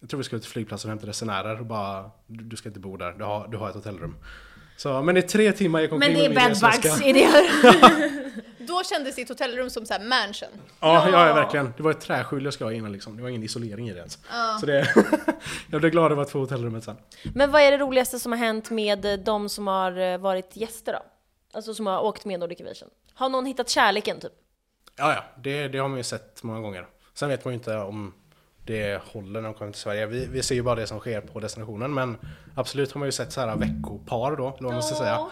Speaker 4: jag tror vi ska ut till flygplatsen och hämta resenärer och bara, du, du ska inte bo där, du har, du har ett hotellrum. Så, men i tre timmar gick omkring
Speaker 5: Men det är
Speaker 4: med min resväska.
Speaker 5: bedbugs i det.
Speaker 1: Då kändes ditt hotellrum som så här mansion.
Speaker 4: Ja, ja. ja verkligen. Det var ett träskjul jag ska ha innan liksom. Det var ingen isolering i det ens. Så det, jag blev glad över att få hotellrummet sen.
Speaker 2: Men vad är det roligaste som har hänt med eh, de som har eh, varit gäster då? Alltså som har åkt med Nordic Aviation. Har någon hittat kärleken typ?
Speaker 4: Ja, ja. Det, det har man ju sett många gånger. Sen vet man ju inte om det håller när de kommer till Sverige. Vi, vi ser ju bara det som sker på destinationen. Men absolut har man ju sett så här veckopar då, eller vad man ska säga.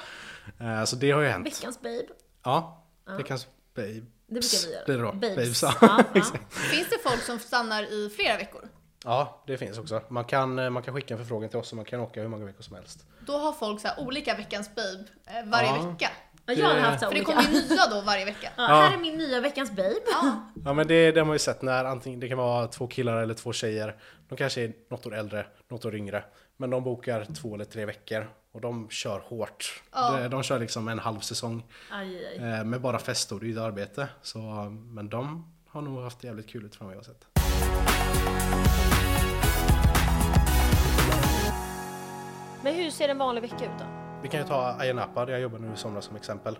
Speaker 4: Eh, Så det har ju hänt.
Speaker 5: Veckans babe.
Speaker 4: Ja, veckans babes
Speaker 5: Det brukar vi göra.
Speaker 4: blir det då.
Speaker 5: Babes.
Speaker 4: Babes,
Speaker 5: Ja,
Speaker 4: ja.
Speaker 5: ja.
Speaker 4: exakt.
Speaker 1: Finns det folk som stannar i flera veckor?
Speaker 4: ja, det finns också. Man kan, eh, man kan skicka en förfrågan till oss och man kan åka hur många veckor som helst.
Speaker 1: Då har folk så här olika veckans babe eh, varje
Speaker 4: Ja.
Speaker 1: vecka.
Speaker 5: Ja, jag har haft så här
Speaker 1: För det
Speaker 5: olika.
Speaker 1: kommer ju nya då varje vecka.
Speaker 5: Ja, här är min nya veckans babe.
Speaker 4: Ja men det, det har man ju sett när antingen det kan vara två killar eller två tjejer. De kanske är något år äldre, något år yngre. Men de bokar två eller tre veckor och de kör hårt. De, de kör liksom en halv säsong
Speaker 5: Aj, aj.
Speaker 4: eh, med bara fest och det är ju arbete. Så, men de har nog haft jävligt kul utifrån vad jag har sett.
Speaker 2: Men hur ser en vanlig vecka ut då?
Speaker 4: Vi kan ju ta Ayia Napa där jag jobbar nu i somras som exempel.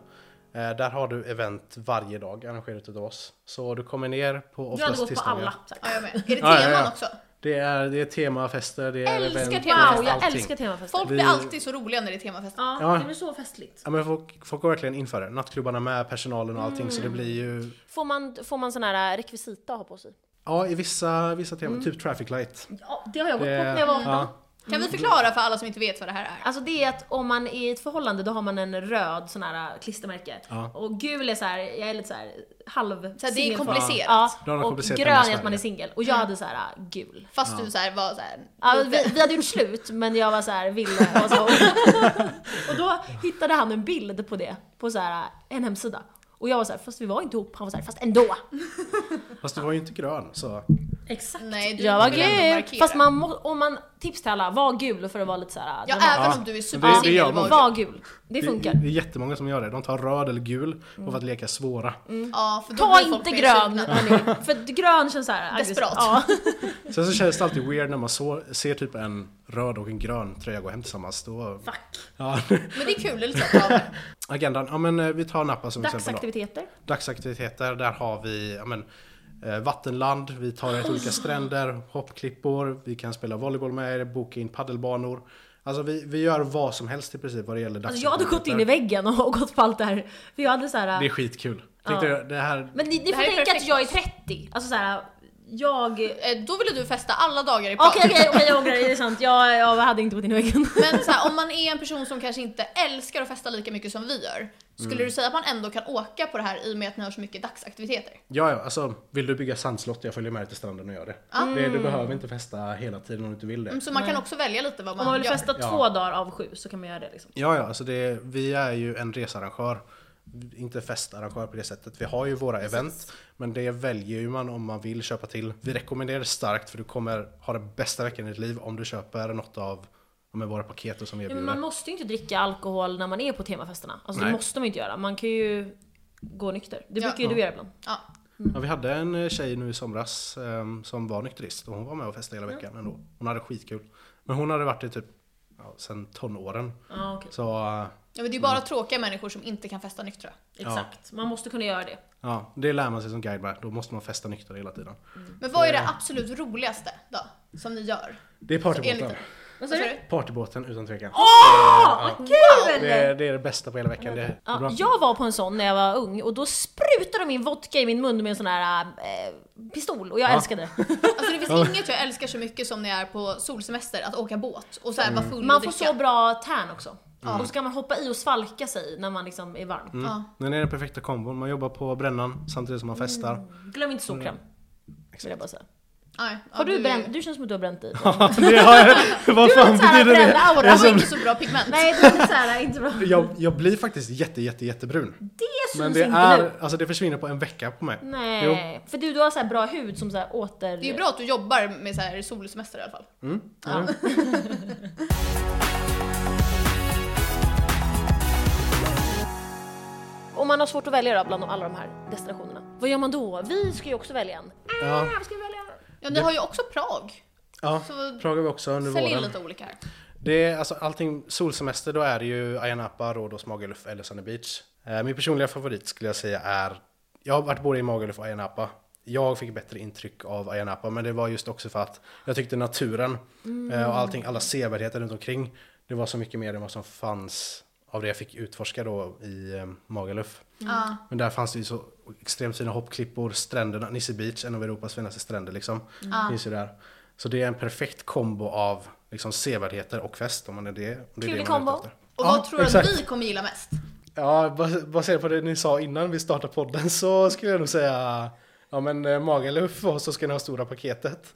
Speaker 4: Eh, där har du event varje dag arrangerat utav oss. Så du kommer ner på
Speaker 5: Du hade
Speaker 4: oftast
Speaker 5: gått på alla.
Speaker 4: tisdagar.
Speaker 5: Så här.
Speaker 1: Ja, jag med. Är det teman
Speaker 4: Ja, ja, ja.
Speaker 1: också?
Speaker 4: Det är, det är temafester, det är
Speaker 1: Älskar
Speaker 4: event, det
Speaker 1: tema.
Speaker 4: är
Speaker 5: Wow, jag
Speaker 4: allting.
Speaker 5: älskar temafester.
Speaker 1: Folk blir alltid så roliga när det är temafester.
Speaker 5: Ja,
Speaker 4: Ja.
Speaker 5: det blir så festligt.
Speaker 4: Ja men folk, folk går verkligen in för det. Nattklubbarna med, personalen och allting.
Speaker 5: Mm.
Speaker 4: Så det blir ju...
Speaker 2: Får man, får man sån här eh, rekvisita att ha på sig?
Speaker 4: Ja, i vissa, vissa teman. Typ traffic light.
Speaker 5: Ja, det har jag gått Mm. på
Speaker 4: Det-
Speaker 5: när jag var 18.
Speaker 4: ja.
Speaker 1: Kan vi förklara för alla som inte vet vad det här är?
Speaker 5: Alltså det är att om man är i ett förhållande då har man en röd sån här äh, klistermärke.
Speaker 4: Ja.
Speaker 5: Och gul är så här, jag är lite så här halv
Speaker 1: Så här, det är
Speaker 5: singelform.
Speaker 1: komplicerat.
Speaker 5: Ja,
Speaker 4: Då har de
Speaker 5: och
Speaker 4: komplicerat
Speaker 5: grön
Speaker 4: hemma i
Speaker 5: är att man
Speaker 4: Sverige.
Speaker 5: är singel. Och jag hade så här äh, gul.
Speaker 1: Fast du så här var så här,
Speaker 5: Ja,
Speaker 1: lite-
Speaker 5: vi, vi hade gjort slut men jag var så här ville och så. Och då hittade han en bild på det på så här äh, en hemsida. Och jag var så här, fast vi var inte ihop. Han var så här, fast ändå.
Speaker 4: Fast du var ju inte grön så...
Speaker 5: Exakt.
Speaker 1: Nej, du
Speaker 5: Jag var
Speaker 1: vill ändå
Speaker 5: gul!
Speaker 1: markera.
Speaker 5: Fast man må, om man, tips till alla, var gul för att vara lite äh, såhär
Speaker 1: Ja,
Speaker 5: dramatisk.
Speaker 1: även
Speaker 4: Ja,
Speaker 1: om du är
Speaker 4: men det- det gör
Speaker 1: supersingel
Speaker 4: man.
Speaker 1: var
Speaker 5: Var gul, det funkar. Mm.
Speaker 4: Det, det är jättemånga som gör det. De tar röd eller gul och för att leka svåra.
Speaker 1: Ja, för då
Speaker 5: Ta
Speaker 1: blir folk
Speaker 5: inte
Speaker 1: mer
Speaker 5: grön!
Speaker 1: sugna.
Speaker 5: hörni. För att grön känns såhär aggressivt.
Speaker 1: Desperat.
Speaker 5: Ja.
Speaker 4: Sen så känns det alltid weird när man så, ser typ en röd och en grön tröja gå hem tillsammans. Då...
Speaker 5: Fuck.
Speaker 4: Ja.
Speaker 1: Men det är kul, det är lite så här, ja.
Speaker 4: Agendan. Ja men eh, vi tar Napa som exempel då.
Speaker 5: Dagsaktiviteter.
Speaker 2: Alltså,
Speaker 4: Dagsaktiviteter. Där har vi ja, men, eh, vattenland. Vi tar er till
Speaker 5: Ah.
Speaker 4: olika stränder, hoppklippor. Vi kan spela volleyboll med er, boka in paddelbanor. Alltså vi, vi gör vad som helst i princip vad det gäller
Speaker 5: Alltså jag hade gått in i
Speaker 4: dagsaktiviteter.
Speaker 5: väggen och, och gått på allt det här. För jag hade såhär...
Speaker 4: Det är skitkul. Tänkte jag, det här...
Speaker 5: Men ni, ni
Speaker 1: Det här
Speaker 5: får
Speaker 1: är
Speaker 5: tänka att
Speaker 1: perfekt.
Speaker 5: jag är 30. Alltså såhär,
Speaker 2: jag... Okej,
Speaker 1: Eh, Då ville du festa alla dagar i par.
Speaker 2: okej, okej, jag ångrar det, det är sant. Jag, jag hade inte gått in i väggen.
Speaker 1: Men så här, om man är en person som kanske inte älskar att festa lika mycket som vi gör, skulle
Speaker 2: Mm.
Speaker 1: du säga att man ändå kan åka på det här i och med att ni har så mycket dagsaktiviteter?
Speaker 4: Ja, ja, alltså vill du bygga sandslott, jag följer med dig till stranden och gör det.
Speaker 5: Ah.
Speaker 4: det. Du behöver inte festa hela tiden om du inte vill det.
Speaker 1: Mm, Så man kan också välja lite vad
Speaker 2: Om
Speaker 1: man,
Speaker 2: man vill
Speaker 1: gör.
Speaker 2: festa
Speaker 4: Ja.
Speaker 2: två dagar av sju så kan man göra det liksom.
Speaker 4: Ja, ja, alltså det, vi är ju en resarrangör. Inte festarrangör på det sättet. Vi har ju våra event, men det väljer ju man om man vill köpa till. Vi rekommenderar det starkt för du kommer ha den bästa veckan i ditt liv om du köper något av ja, men våra paket och som vi
Speaker 2: Ja, men
Speaker 4: erbjuder.
Speaker 2: man måste ju inte dricka alkohol när man är på temafesterna. Alltså
Speaker 4: Nej.
Speaker 2: det måste man ju inte göra. Man kan ju gå nykter. Det
Speaker 1: Ja.
Speaker 2: brukar ju du göra ibland.
Speaker 1: Ja.
Speaker 4: Ja, vi hade en eh, tjej nu i somras ehm, som var nykterist och hon var med och festade hela veckan ändå. Hon hade skitkul. Men hon hade varit det typ ja, sen tonåren.
Speaker 2: Ja, okej.
Speaker 4: Så eh,
Speaker 1: ja, men det är ju
Speaker 2: Mm.
Speaker 1: bara tråkiga människor som inte kan festa nyktra.
Speaker 2: Exakt. Man måste kunna göra det.
Speaker 4: ja, det lär man sig som guide med. Då måste man festa nykter hela tiden.
Speaker 1: Men vad är det absolut roligaste då, som ni gör?
Speaker 4: Det är
Speaker 1: Enligt...
Speaker 4: partybåten.
Speaker 1: Vad sa du?
Speaker 4: Partybåten utan tvekan.
Speaker 2: Åh, Ah, vad kul!
Speaker 4: Det, det är det bästa på hela veckan. Det, det är
Speaker 2: Ja,
Speaker 4: bra.
Speaker 2: jag var på en sån när jag var ung och då sprutade de in vodka i min mun med en sån här eh, pistol och jag älskade det.
Speaker 1: Alltså det finns inget jag älskar så mycket som när jag är på solsemester, att åka båt och så här vara full
Speaker 2: Mm. Man
Speaker 1: och
Speaker 2: får
Speaker 1: dricka.
Speaker 2: så bra tärn också.
Speaker 4: Mm.
Speaker 2: Och så kan man hoppa i och svalka sig när man liksom är varm.
Speaker 1: Ja.
Speaker 4: Den är den perfekta kombon. Man jobbar på brännan samtidigt som man festar.
Speaker 2: Glöm inte solkräm.
Speaker 4: Mm.
Speaker 2: Vill jag bara säga.
Speaker 1: Nej, ja,
Speaker 2: Har du
Speaker 1: är-
Speaker 2: bränt? Du känns som att du har bränt dig.
Speaker 4: Det har jag, vad fan
Speaker 2: så här
Speaker 4: betyder det?
Speaker 2: bränd aura.
Speaker 4: Jag,
Speaker 1: Du har
Speaker 4: som,
Speaker 1: inte så bra pigment.
Speaker 2: Alltså- Nej, det är inte såhär, inte bra.
Speaker 4: jag, jag blir faktiskt jätte, jätte, jättebrun.
Speaker 2: Det syns
Speaker 4: Men det
Speaker 2: inte
Speaker 4: är,
Speaker 2: nu.
Speaker 4: alltså det försvinner på en vecka på mig.
Speaker 2: Nej, för du, du har så här bra hud som så här åter...
Speaker 1: Det är ju bra att du jobbar med så här solsemester i alla fall.
Speaker 2: Ja. Om man har svårt att välja då bland alla de här destinationerna, vad gör man då? Vi ska ju också välja en.
Speaker 4: Ja,
Speaker 2: Ah, vad ska vi välja?
Speaker 1: Ja, ni har ju också Prag.
Speaker 4: ja.
Speaker 1: Så-
Speaker 4: Prag har vi också under
Speaker 1: Sälj in
Speaker 4: våren.
Speaker 1: lite olika här.
Speaker 4: Det är, alltså, allting solsemester, då är det ju Ayia Napa, Rhodos, Magaluf eller Sunny Beach. Eh, min personliga favorit skulle jag säga är, jag har varit både i Magaluf och Ayia Napa. Jag fick bättre intryck av Ayia Napa, men det var just också för att jag tyckte naturen eh, och allting, alla sevärdheter runt omkring, det var så mycket mer än vad som fanns av det jag fick utforska då i eh, Magaluf.
Speaker 1: Ja.
Speaker 4: Men där fanns det ju så extremt fina hoppklippor, stränderna, Nisse Beach, en av Europas finaste stränder liksom. Finns ju där. Så det är en perfekt kombo av liksom sevärdheter och fest om man är det. Om det är
Speaker 2: Trevlig
Speaker 4: det man är ute
Speaker 2: kombo.
Speaker 4: efter.
Speaker 1: Och
Speaker 4: ja,
Speaker 1: vad tror du
Speaker 4: exakt.
Speaker 1: att vi kommer gilla mest?
Speaker 4: Ja, bas- baserat på det ni sa innan vi startade podden så skulle jag nog säga Ja men eh, Magaluf och så ska ni ha stora paketet.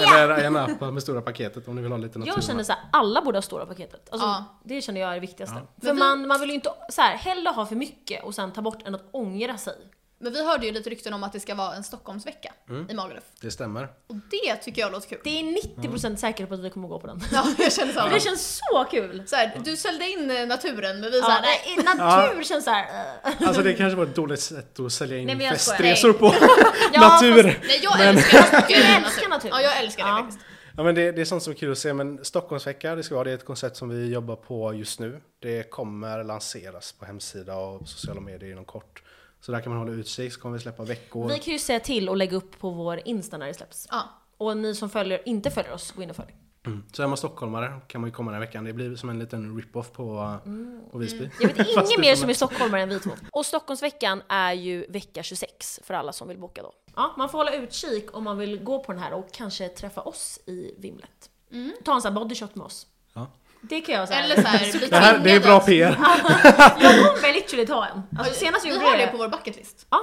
Speaker 4: Eller Ayia Napa med stora paketet om ni vill ha lite natur.
Speaker 2: Jag känner så här, alla borde ha stora paketet. Alltså,
Speaker 1: Ja.
Speaker 2: Det känner jag är det viktigaste. För
Speaker 1: Men vi-
Speaker 2: man, man vill ju inte så här, hellre ha för mycket och sen ta bort än att ångra sig.
Speaker 1: Men vi hörde ju lite rykten om att det ska vara en Stockholmsvecka
Speaker 4: Mm.
Speaker 1: i Magaluf.
Speaker 4: Det stämmer.
Speaker 1: Och det tycker jag låter kul.
Speaker 2: Det är 90% säkerhet på att vi kommer gå på den.
Speaker 1: Ja, jag känner samma.
Speaker 2: Det känns så kul!
Speaker 1: Så här, du sålde in eh, naturen men vi
Speaker 2: Ja,
Speaker 1: såhär, nej.
Speaker 2: nej, natur känns såhär... eh.
Speaker 4: Alltså det kanske var ett dåligt sätt att sälja
Speaker 2: Nej,
Speaker 4: in
Speaker 2: men jag skojar.
Speaker 4: festresor på.
Speaker 2: Ja,
Speaker 4: Natur!
Speaker 2: fast-
Speaker 1: Nej jag älskar natur.
Speaker 2: Jag älskar natur.
Speaker 1: Ja jag älskar det
Speaker 2: Ja.
Speaker 1: faktiskt.
Speaker 4: Ja men det, det är sånt som är kul att se, men Stockholmsvecka det ska vara, det är ett koncept som vi jobbar på just nu. Det kommer lanseras på hemsida och sociala medier inom kort. Så där kan man hålla utkik, så kommer vi släppa veckor.
Speaker 2: Vi kan ju säga till och lägga upp på vår Insta när det släpps.
Speaker 1: Ja.
Speaker 2: Och ni som följer, inte följer oss, gå in och följ.
Speaker 4: Mm. Så är man stockholmare kan man ju komma den här veckan, det blir som en liten rip-off på, eh, på Visby.
Speaker 2: Mm. Jag vet ingen mer som är stockholmare än vi två. Och Stockholmsveckan är ju vecka 26 för alla som vill boka då. Ja, man får hålla utkik om man vill gå på den här och kanske träffa oss i vimlet. Ta en sån här bodyshot med oss.
Speaker 4: Ja.
Speaker 2: Det kan jag säga.
Speaker 1: Mm. Eller såhär, bli
Speaker 4: Det, här, det är bra
Speaker 1: tvingade.
Speaker 4: PR!
Speaker 2: Jag kommer literally ta en. Alltså senast jag
Speaker 1: Vi
Speaker 2: gjorde
Speaker 1: har det på vår bucketlist.
Speaker 2: Ja,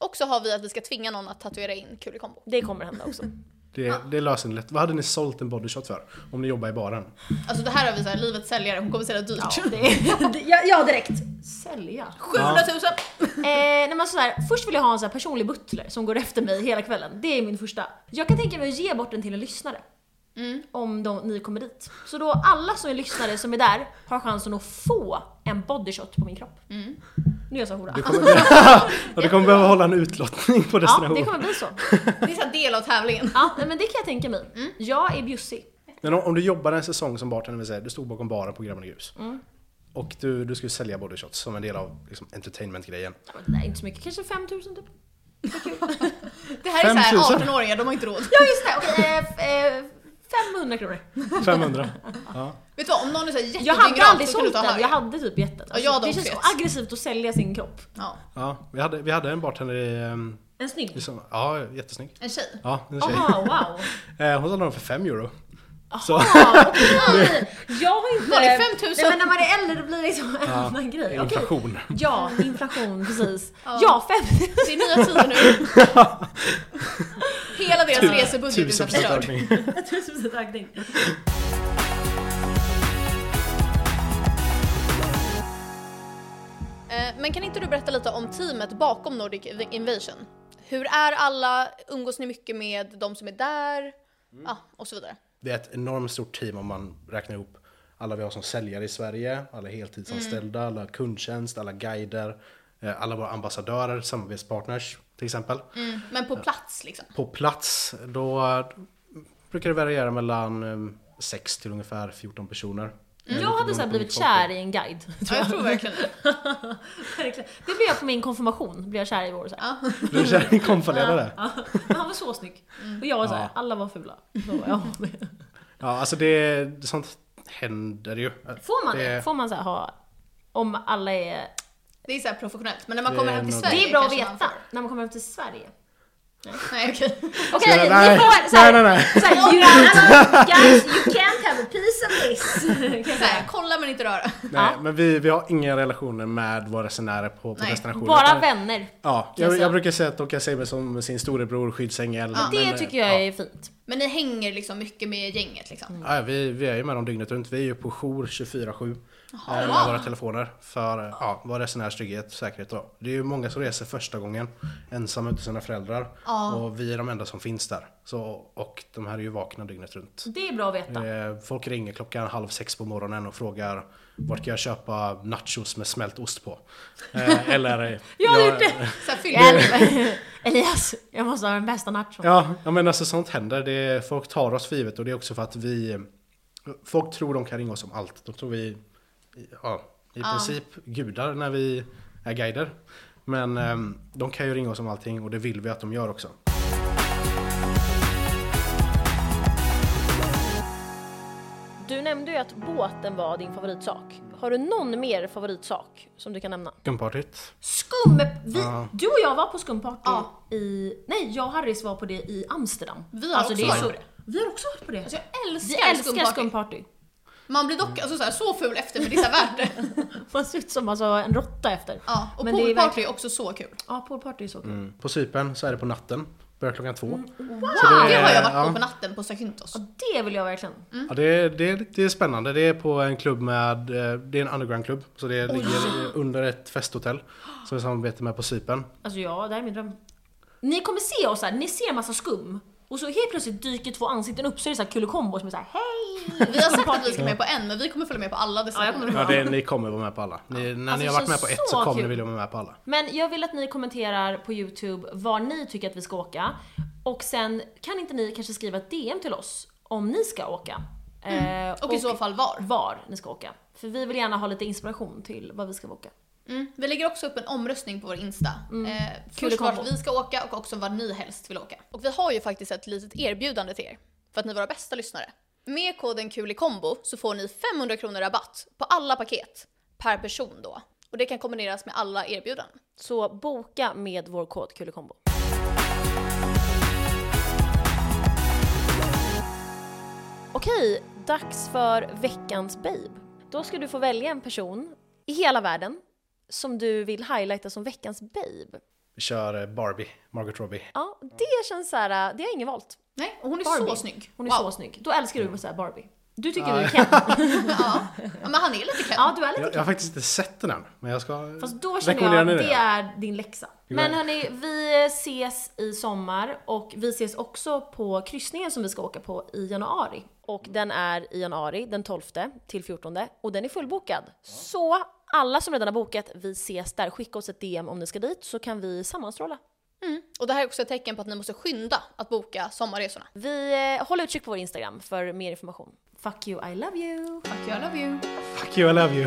Speaker 1: Och så har vi att vi ska tvinga någon att tatuera in kul i kombo.
Speaker 2: det kommer hända också.
Speaker 4: Det, det löser ni lätt. Vad hade ni sålt en bodyshot för? Om ni jobbar i baren?
Speaker 1: Alltså det här har vi såhär, livets säljare, hon kommer sälja dyrt.
Speaker 2: Ja, det är, ja, ja direkt. Sälja.
Speaker 1: 700 000!
Speaker 2: Eh, nej, men sådär, först vill jag ha en sån här personlig butler som går efter mig hela kvällen. Det är min första. Jag kan tänka mig att ge bort den till en lyssnare. Om de, ni kommer dit. Så då alla som är lyssnare som är där har chansen att få en bodyshot på min kropp. Nu är jag så hora.
Speaker 4: Du kommer, och du kommer behöva hålla en utlottning på
Speaker 2: Ja,
Speaker 4: destination.
Speaker 2: det kommer bli så.
Speaker 1: Det är såhär del av tävlingen.
Speaker 2: Ja, nej, men det kan jag tänka mig. Jag är bjussig.
Speaker 4: Men om, om du jobbade en säsong som bartender, vill säga, du stod bakom baren på Grabbarna Grus.
Speaker 1: Mm.
Speaker 4: Och du, du skulle sälja bodyshots som en del av liksom, entertainment-grejen.
Speaker 2: Ja, men Det där är inte så mycket, kanske 5000 typ.
Speaker 1: Det här är såhär
Speaker 4: 5000.
Speaker 1: 18-åringar, de har inte råd.
Speaker 2: Ja just det, okej. eh, f- eh, 500 kronor.
Speaker 4: 500. ja.
Speaker 1: Vet du vad, om någon är såhär
Speaker 2: Jag hade
Speaker 1: jättedyngrak
Speaker 2: aldrig
Speaker 1: så kan du
Speaker 2: sålt
Speaker 1: ta
Speaker 2: den,
Speaker 1: högre.
Speaker 2: jag hade typ gett den.
Speaker 1: Ja, jag hade
Speaker 2: det
Speaker 1: också
Speaker 2: känns så
Speaker 1: gett.
Speaker 2: aggressivt att sälja sin kropp.
Speaker 1: Ja.
Speaker 4: Ja, vi, hade, vi hade en bartender i, ehm,
Speaker 2: En snygg?
Speaker 4: Liksom, ja, jättesnygg.
Speaker 1: En tjej.
Speaker 4: Ja, en tjej.
Speaker 2: Jaha, wow.
Speaker 4: Eh, Hon sålde dem för 5 euro. Så,
Speaker 2: Ja, okej. Jag har inte...
Speaker 1: När det är 5000.
Speaker 2: Nej, men när man är äldre då blir det liksom en annan grej. Okej.
Speaker 4: inflation.
Speaker 2: Ja, inflation, precis.
Speaker 1: Ja.
Speaker 2: Ja, 5000.
Speaker 1: Det är nya tider nu. Hela deras resebudget är
Speaker 4: Tusen procent
Speaker 1: förstörd.
Speaker 4: ökning.
Speaker 2: 1000% ökning.
Speaker 1: Eh, Men kan inte du berätta lite om teamet bakom Nordic Inv- Invasion? Hur är alla? Umgås ni mycket med de som är där? Ja, och så vidare.
Speaker 4: Det är ett enormt stort team om man räknar ihop alla vi har som säljare i Sverige, alla heltidsanställda,
Speaker 1: Mm.
Speaker 4: alla kundtjänst, alla guider, eh, alla våra ambassadörer, samarbetspartners till exempel.
Speaker 1: Men på plats liksom.
Speaker 4: På plats, då eh, brukar det variera mellan 6 till ungefär 14 personer.
Speaker 2: Mm. Jag hade så här blivit kär i en guide.
Speaker 1: Ja, jag tror verkligen det.
Speaker 2: Verkligen. Det blev jag på min konfirmation, blev jag kär i vår. Så här.
Speaker 1: Ja.
Speaker 4: Du är kär i en konfaledare?
Speaker 2: Ja, men han var så snygg. Och jag var såhär,
Speaker 4: Ja.
Speaker 2: alla var fula. Då var jag med.
Speaker 4: Ja, alltså det, sånt händer ju.
Speaker 2: Får man det?
Speaker 4: Det-
Speaker 2: Får man så här ha, om alla är...
Speaker 1: Det är så här professionellt. Men när man
Speaker 4: Det
Speaker 1: kommer
Speaker 4: är
Speaker 1: hem till
Speaker 4: nog-
Speaker 1: Sverige
Speaker 2: Det är bra att
Speaker 1: kanske man
Speaker 2: veta
Speaker 1: får-
Speaker 2: när man kommer hem till Sverige.
Speaker 1: Nej, okej.
Speaker 2: Okej,
Speaker 4: Nej,
Speaker 2: ni får såhär,
Speaker 4: nej, nej, nej.
Speaker 2: såhär, you, can't- guys, you can't have a piece of this. Kan jag
Speaker 1: Så här,
Speaker 2: säga.
Speaker 1: kolla men inte röra.
Speaker 4: Nej,
Speaker 2: Ja.
Speaker 4: men vi, vi har inga relationer med våra resenärer på, på
Speaker 1: Nej,
Speaker 4: destinationen.
Speaker 2: Bara
Speaker 4: utan-
Speaker 2: vänner.
Speaker 4: Ja,
Speaker 2: jag
Speaker 4: jag,
Speaker 2: säga.
Speaker 4: jag brukar säga att de kan se mig som sin storebror, skyddsängel.
Speaker 2: Det
Speaker 4: men, eh,
Speaker 2: tycker jag
Speaker 4: ja.
Speaker 2: är fint.
Speaker 1: Men ni hänger liksom mycket med gänget
Speaker 2: Mm.
Speaker 1: liksom.
Speaker 4: Ja, vi, vi är ju med dem dygnet runt. Vi är ju på jour 24-7 eh, med
Speaker 1: wow.
Speaker 4: våra telefoner för eh, ja, vår resenärs trygghet och säkerhet. Då. Det är ju många som reser första gången ensamma utan sina föräldrar
Speaker 1: Ja.
Speaker 4: och vi är de enda som finns där. Så, och de här är ju vakna dygnet runt.
Speaker 2: Det är bra att veta.
Speaker 4: Eh, Folk ringer klockan halv sex på morgonen och frågar vart kan jag köpa nachos med smält ost på? Eh, Eller... eh,
Speaker 2: Jag har gjort det!
Speaker 1: Så här, fyller
Speaker 2: Hjälp! Elias, jag måste ha den bästa nachon.
Speaker 4: Ja, ja, men alltså sånt händer. Det är, folk tar oss för givet och det är också för att vi... Folk tror de kan ringa oss om allt. De tror vi ja, i princip gudar när vi är guider. Men ehm, de kan ju ringa oss om allting och det vill vi att de gör också.
Speaker 6: Du nämnde ju att båten var din favoritsak. Har du någon mer favoritsak som du kan nämna?
Speaker 4: Gumpartyt.
Speaker 2: Skum... Vi,
Speaker 4: Ja.
Speaker 2: Du och jag var på skumparty
Speaker 1: Ja.
Speaker 2: i... Nej, jag och Harris var på det i Amsterdam. Alltså,
Speaker 1: Vi har också
Speaker 2: det
Speaker 1: varit
Speaker 2: så-
Speaker 1: på det.
Speaker 2: Vi har också varit på det.
Speaker 1: Alltså, jag
Speaker 2: vi
Speaker 1: älskar,
Speaker 2: älskar
Speaker 1: skumparty.
Speaker 2: skumparty.
Speaker 1: Man blir dock alltså, så, här, så ful efter men det är så här värt det.
Speaker 2: Man ser ut som alltså, en råtta efter.
Speaker 1: Ja, och
Speaker 2: Men det är
Speaker 1: poolparty är,
Speaker 2: verkligen-
Speaker 1: också så kul.
Speaker 2: Ja, poolparty är så kul.
Speaker 4: Mm. På Cypern så är det på natten. Börjar klockan två.
Speaker 2: Wow!
Speaker 1: Mm. Det har jag varit
Speaker 4: ja.
Speaker 1: på på natten på Zakynthos.
Speaker 2: Ja, det vill jag verkligen.
Speaker 4: Ja, det, är, det, är, det är spännande. Det är på en klubb med, eh, det är en undergroundklubb. Så det ligger under ett festhotell som vi samarbetar med på Cypern.
Speaker 2: Alltså ja, det här är min dröm. Ni kommer se oss här, ni ser massa skum. Och så helt plötsligt dyker två ansikten upp så är det så här kulikombo som är såhär hej!
Speaker 1: Vi har sagt att vi ska med på en men vi kommer följa med på alla
Speaker 2: Ja, jag kommer
Speaker 1: destinationer.
Speaker 2: ihåg.
Speaker 4: Ja, det, ni kommer vara med på alla. Ni, när
Speaker 2: Alltså,
Speaker 4: ni har
Speaker 2: det
Speaker 4: varit med på
Speaker 2: känns
Speaker 4: ett så
Speaker 2: så
Speaker 4: kommer ni
Speaker 2: kul.
Speaker 4: vilja vara med på alla.
Speaker 2: Men jag vill att ni kommenterar på YouTube var ni tycker att vi ska åka. Och sen kan inte ni kanske skriva ett DM till oss om ni ska åka. Eh,
Speaker 1: Mm. Och i så fall var.
Speaker 2: var ni ska åka. För vi vill gärna ha lite inspiration till vad vi ska åka.
Speaker 1: Mm. Vi lägger också upp en omröstning på vår Insta. Eh,
Speaker 2: Kul
Speaker 1: först
Speaker 2: kombo.
Speaker 1: vart vi ska åka och också var ni helst vill åka. Och vi har ju faktiskt ett litet erbjudande till er för att ni är våra bästa lyssnare. Med koden KULIKOMBO så får ni 500 kronor rabatt på alla paket per person då. Och det kan kombineras med alla erbjudanden.
Speaker 6: Så boka med vår kod Kulekombo. Okej, dags för veckans babe. Då ska du få välja en person i hela världen som du vill highlighta som veckans babe.
Speaker 4: Vi kör eh, Barbie, Margot Robbie.
Speaker 6: Ja, det känns så här, det har ingen valt.
Speaker 1: Nej, och hon är så
Speaker 2: Barbie.
Speaker 1: snygg.
Speaker 2: Hon är
Speaker 1: wow.
Speaker 2: så snygg. Då älskar du så här Barbie. Du tycker du är Ken.
Speaker 1: Ja. ja, men han är lite Ken.
Speaker 2: Ja, du är lite
Speaker 4: Jag,
Speaker 2: Ken.
Speaker 4: jag har faktiskt inte sett den än, men jag ska
Speaker 2: Fast Alltså, då känner
Speaker 4: rekommenderar
Speaker 2: jag att
Speaker 4: ni
Speaker 2: det är din läxa. Men hörni, vi ses i sommar och vi ses också på kryssningen som vi ska åka på i januari.
Speaker 6: Och den är i januari, den 12 till 14 och den är fullbokad. Så alla som redan har bokat, vi ses där. Skicka oss ett DM om ni ska dit så kan vi sammanstråla.
Speaker 1: Och det här är också ett tecken på att ni måste skynda att boka sommarresorna.
Speaker 6: Vi eh, håller utkik på vår Instagram för mer information.
Speaker 2: Fuck you, I love you!
Speaker 1: Tack, I love you.
Speaker 4: Fuck you, I love you.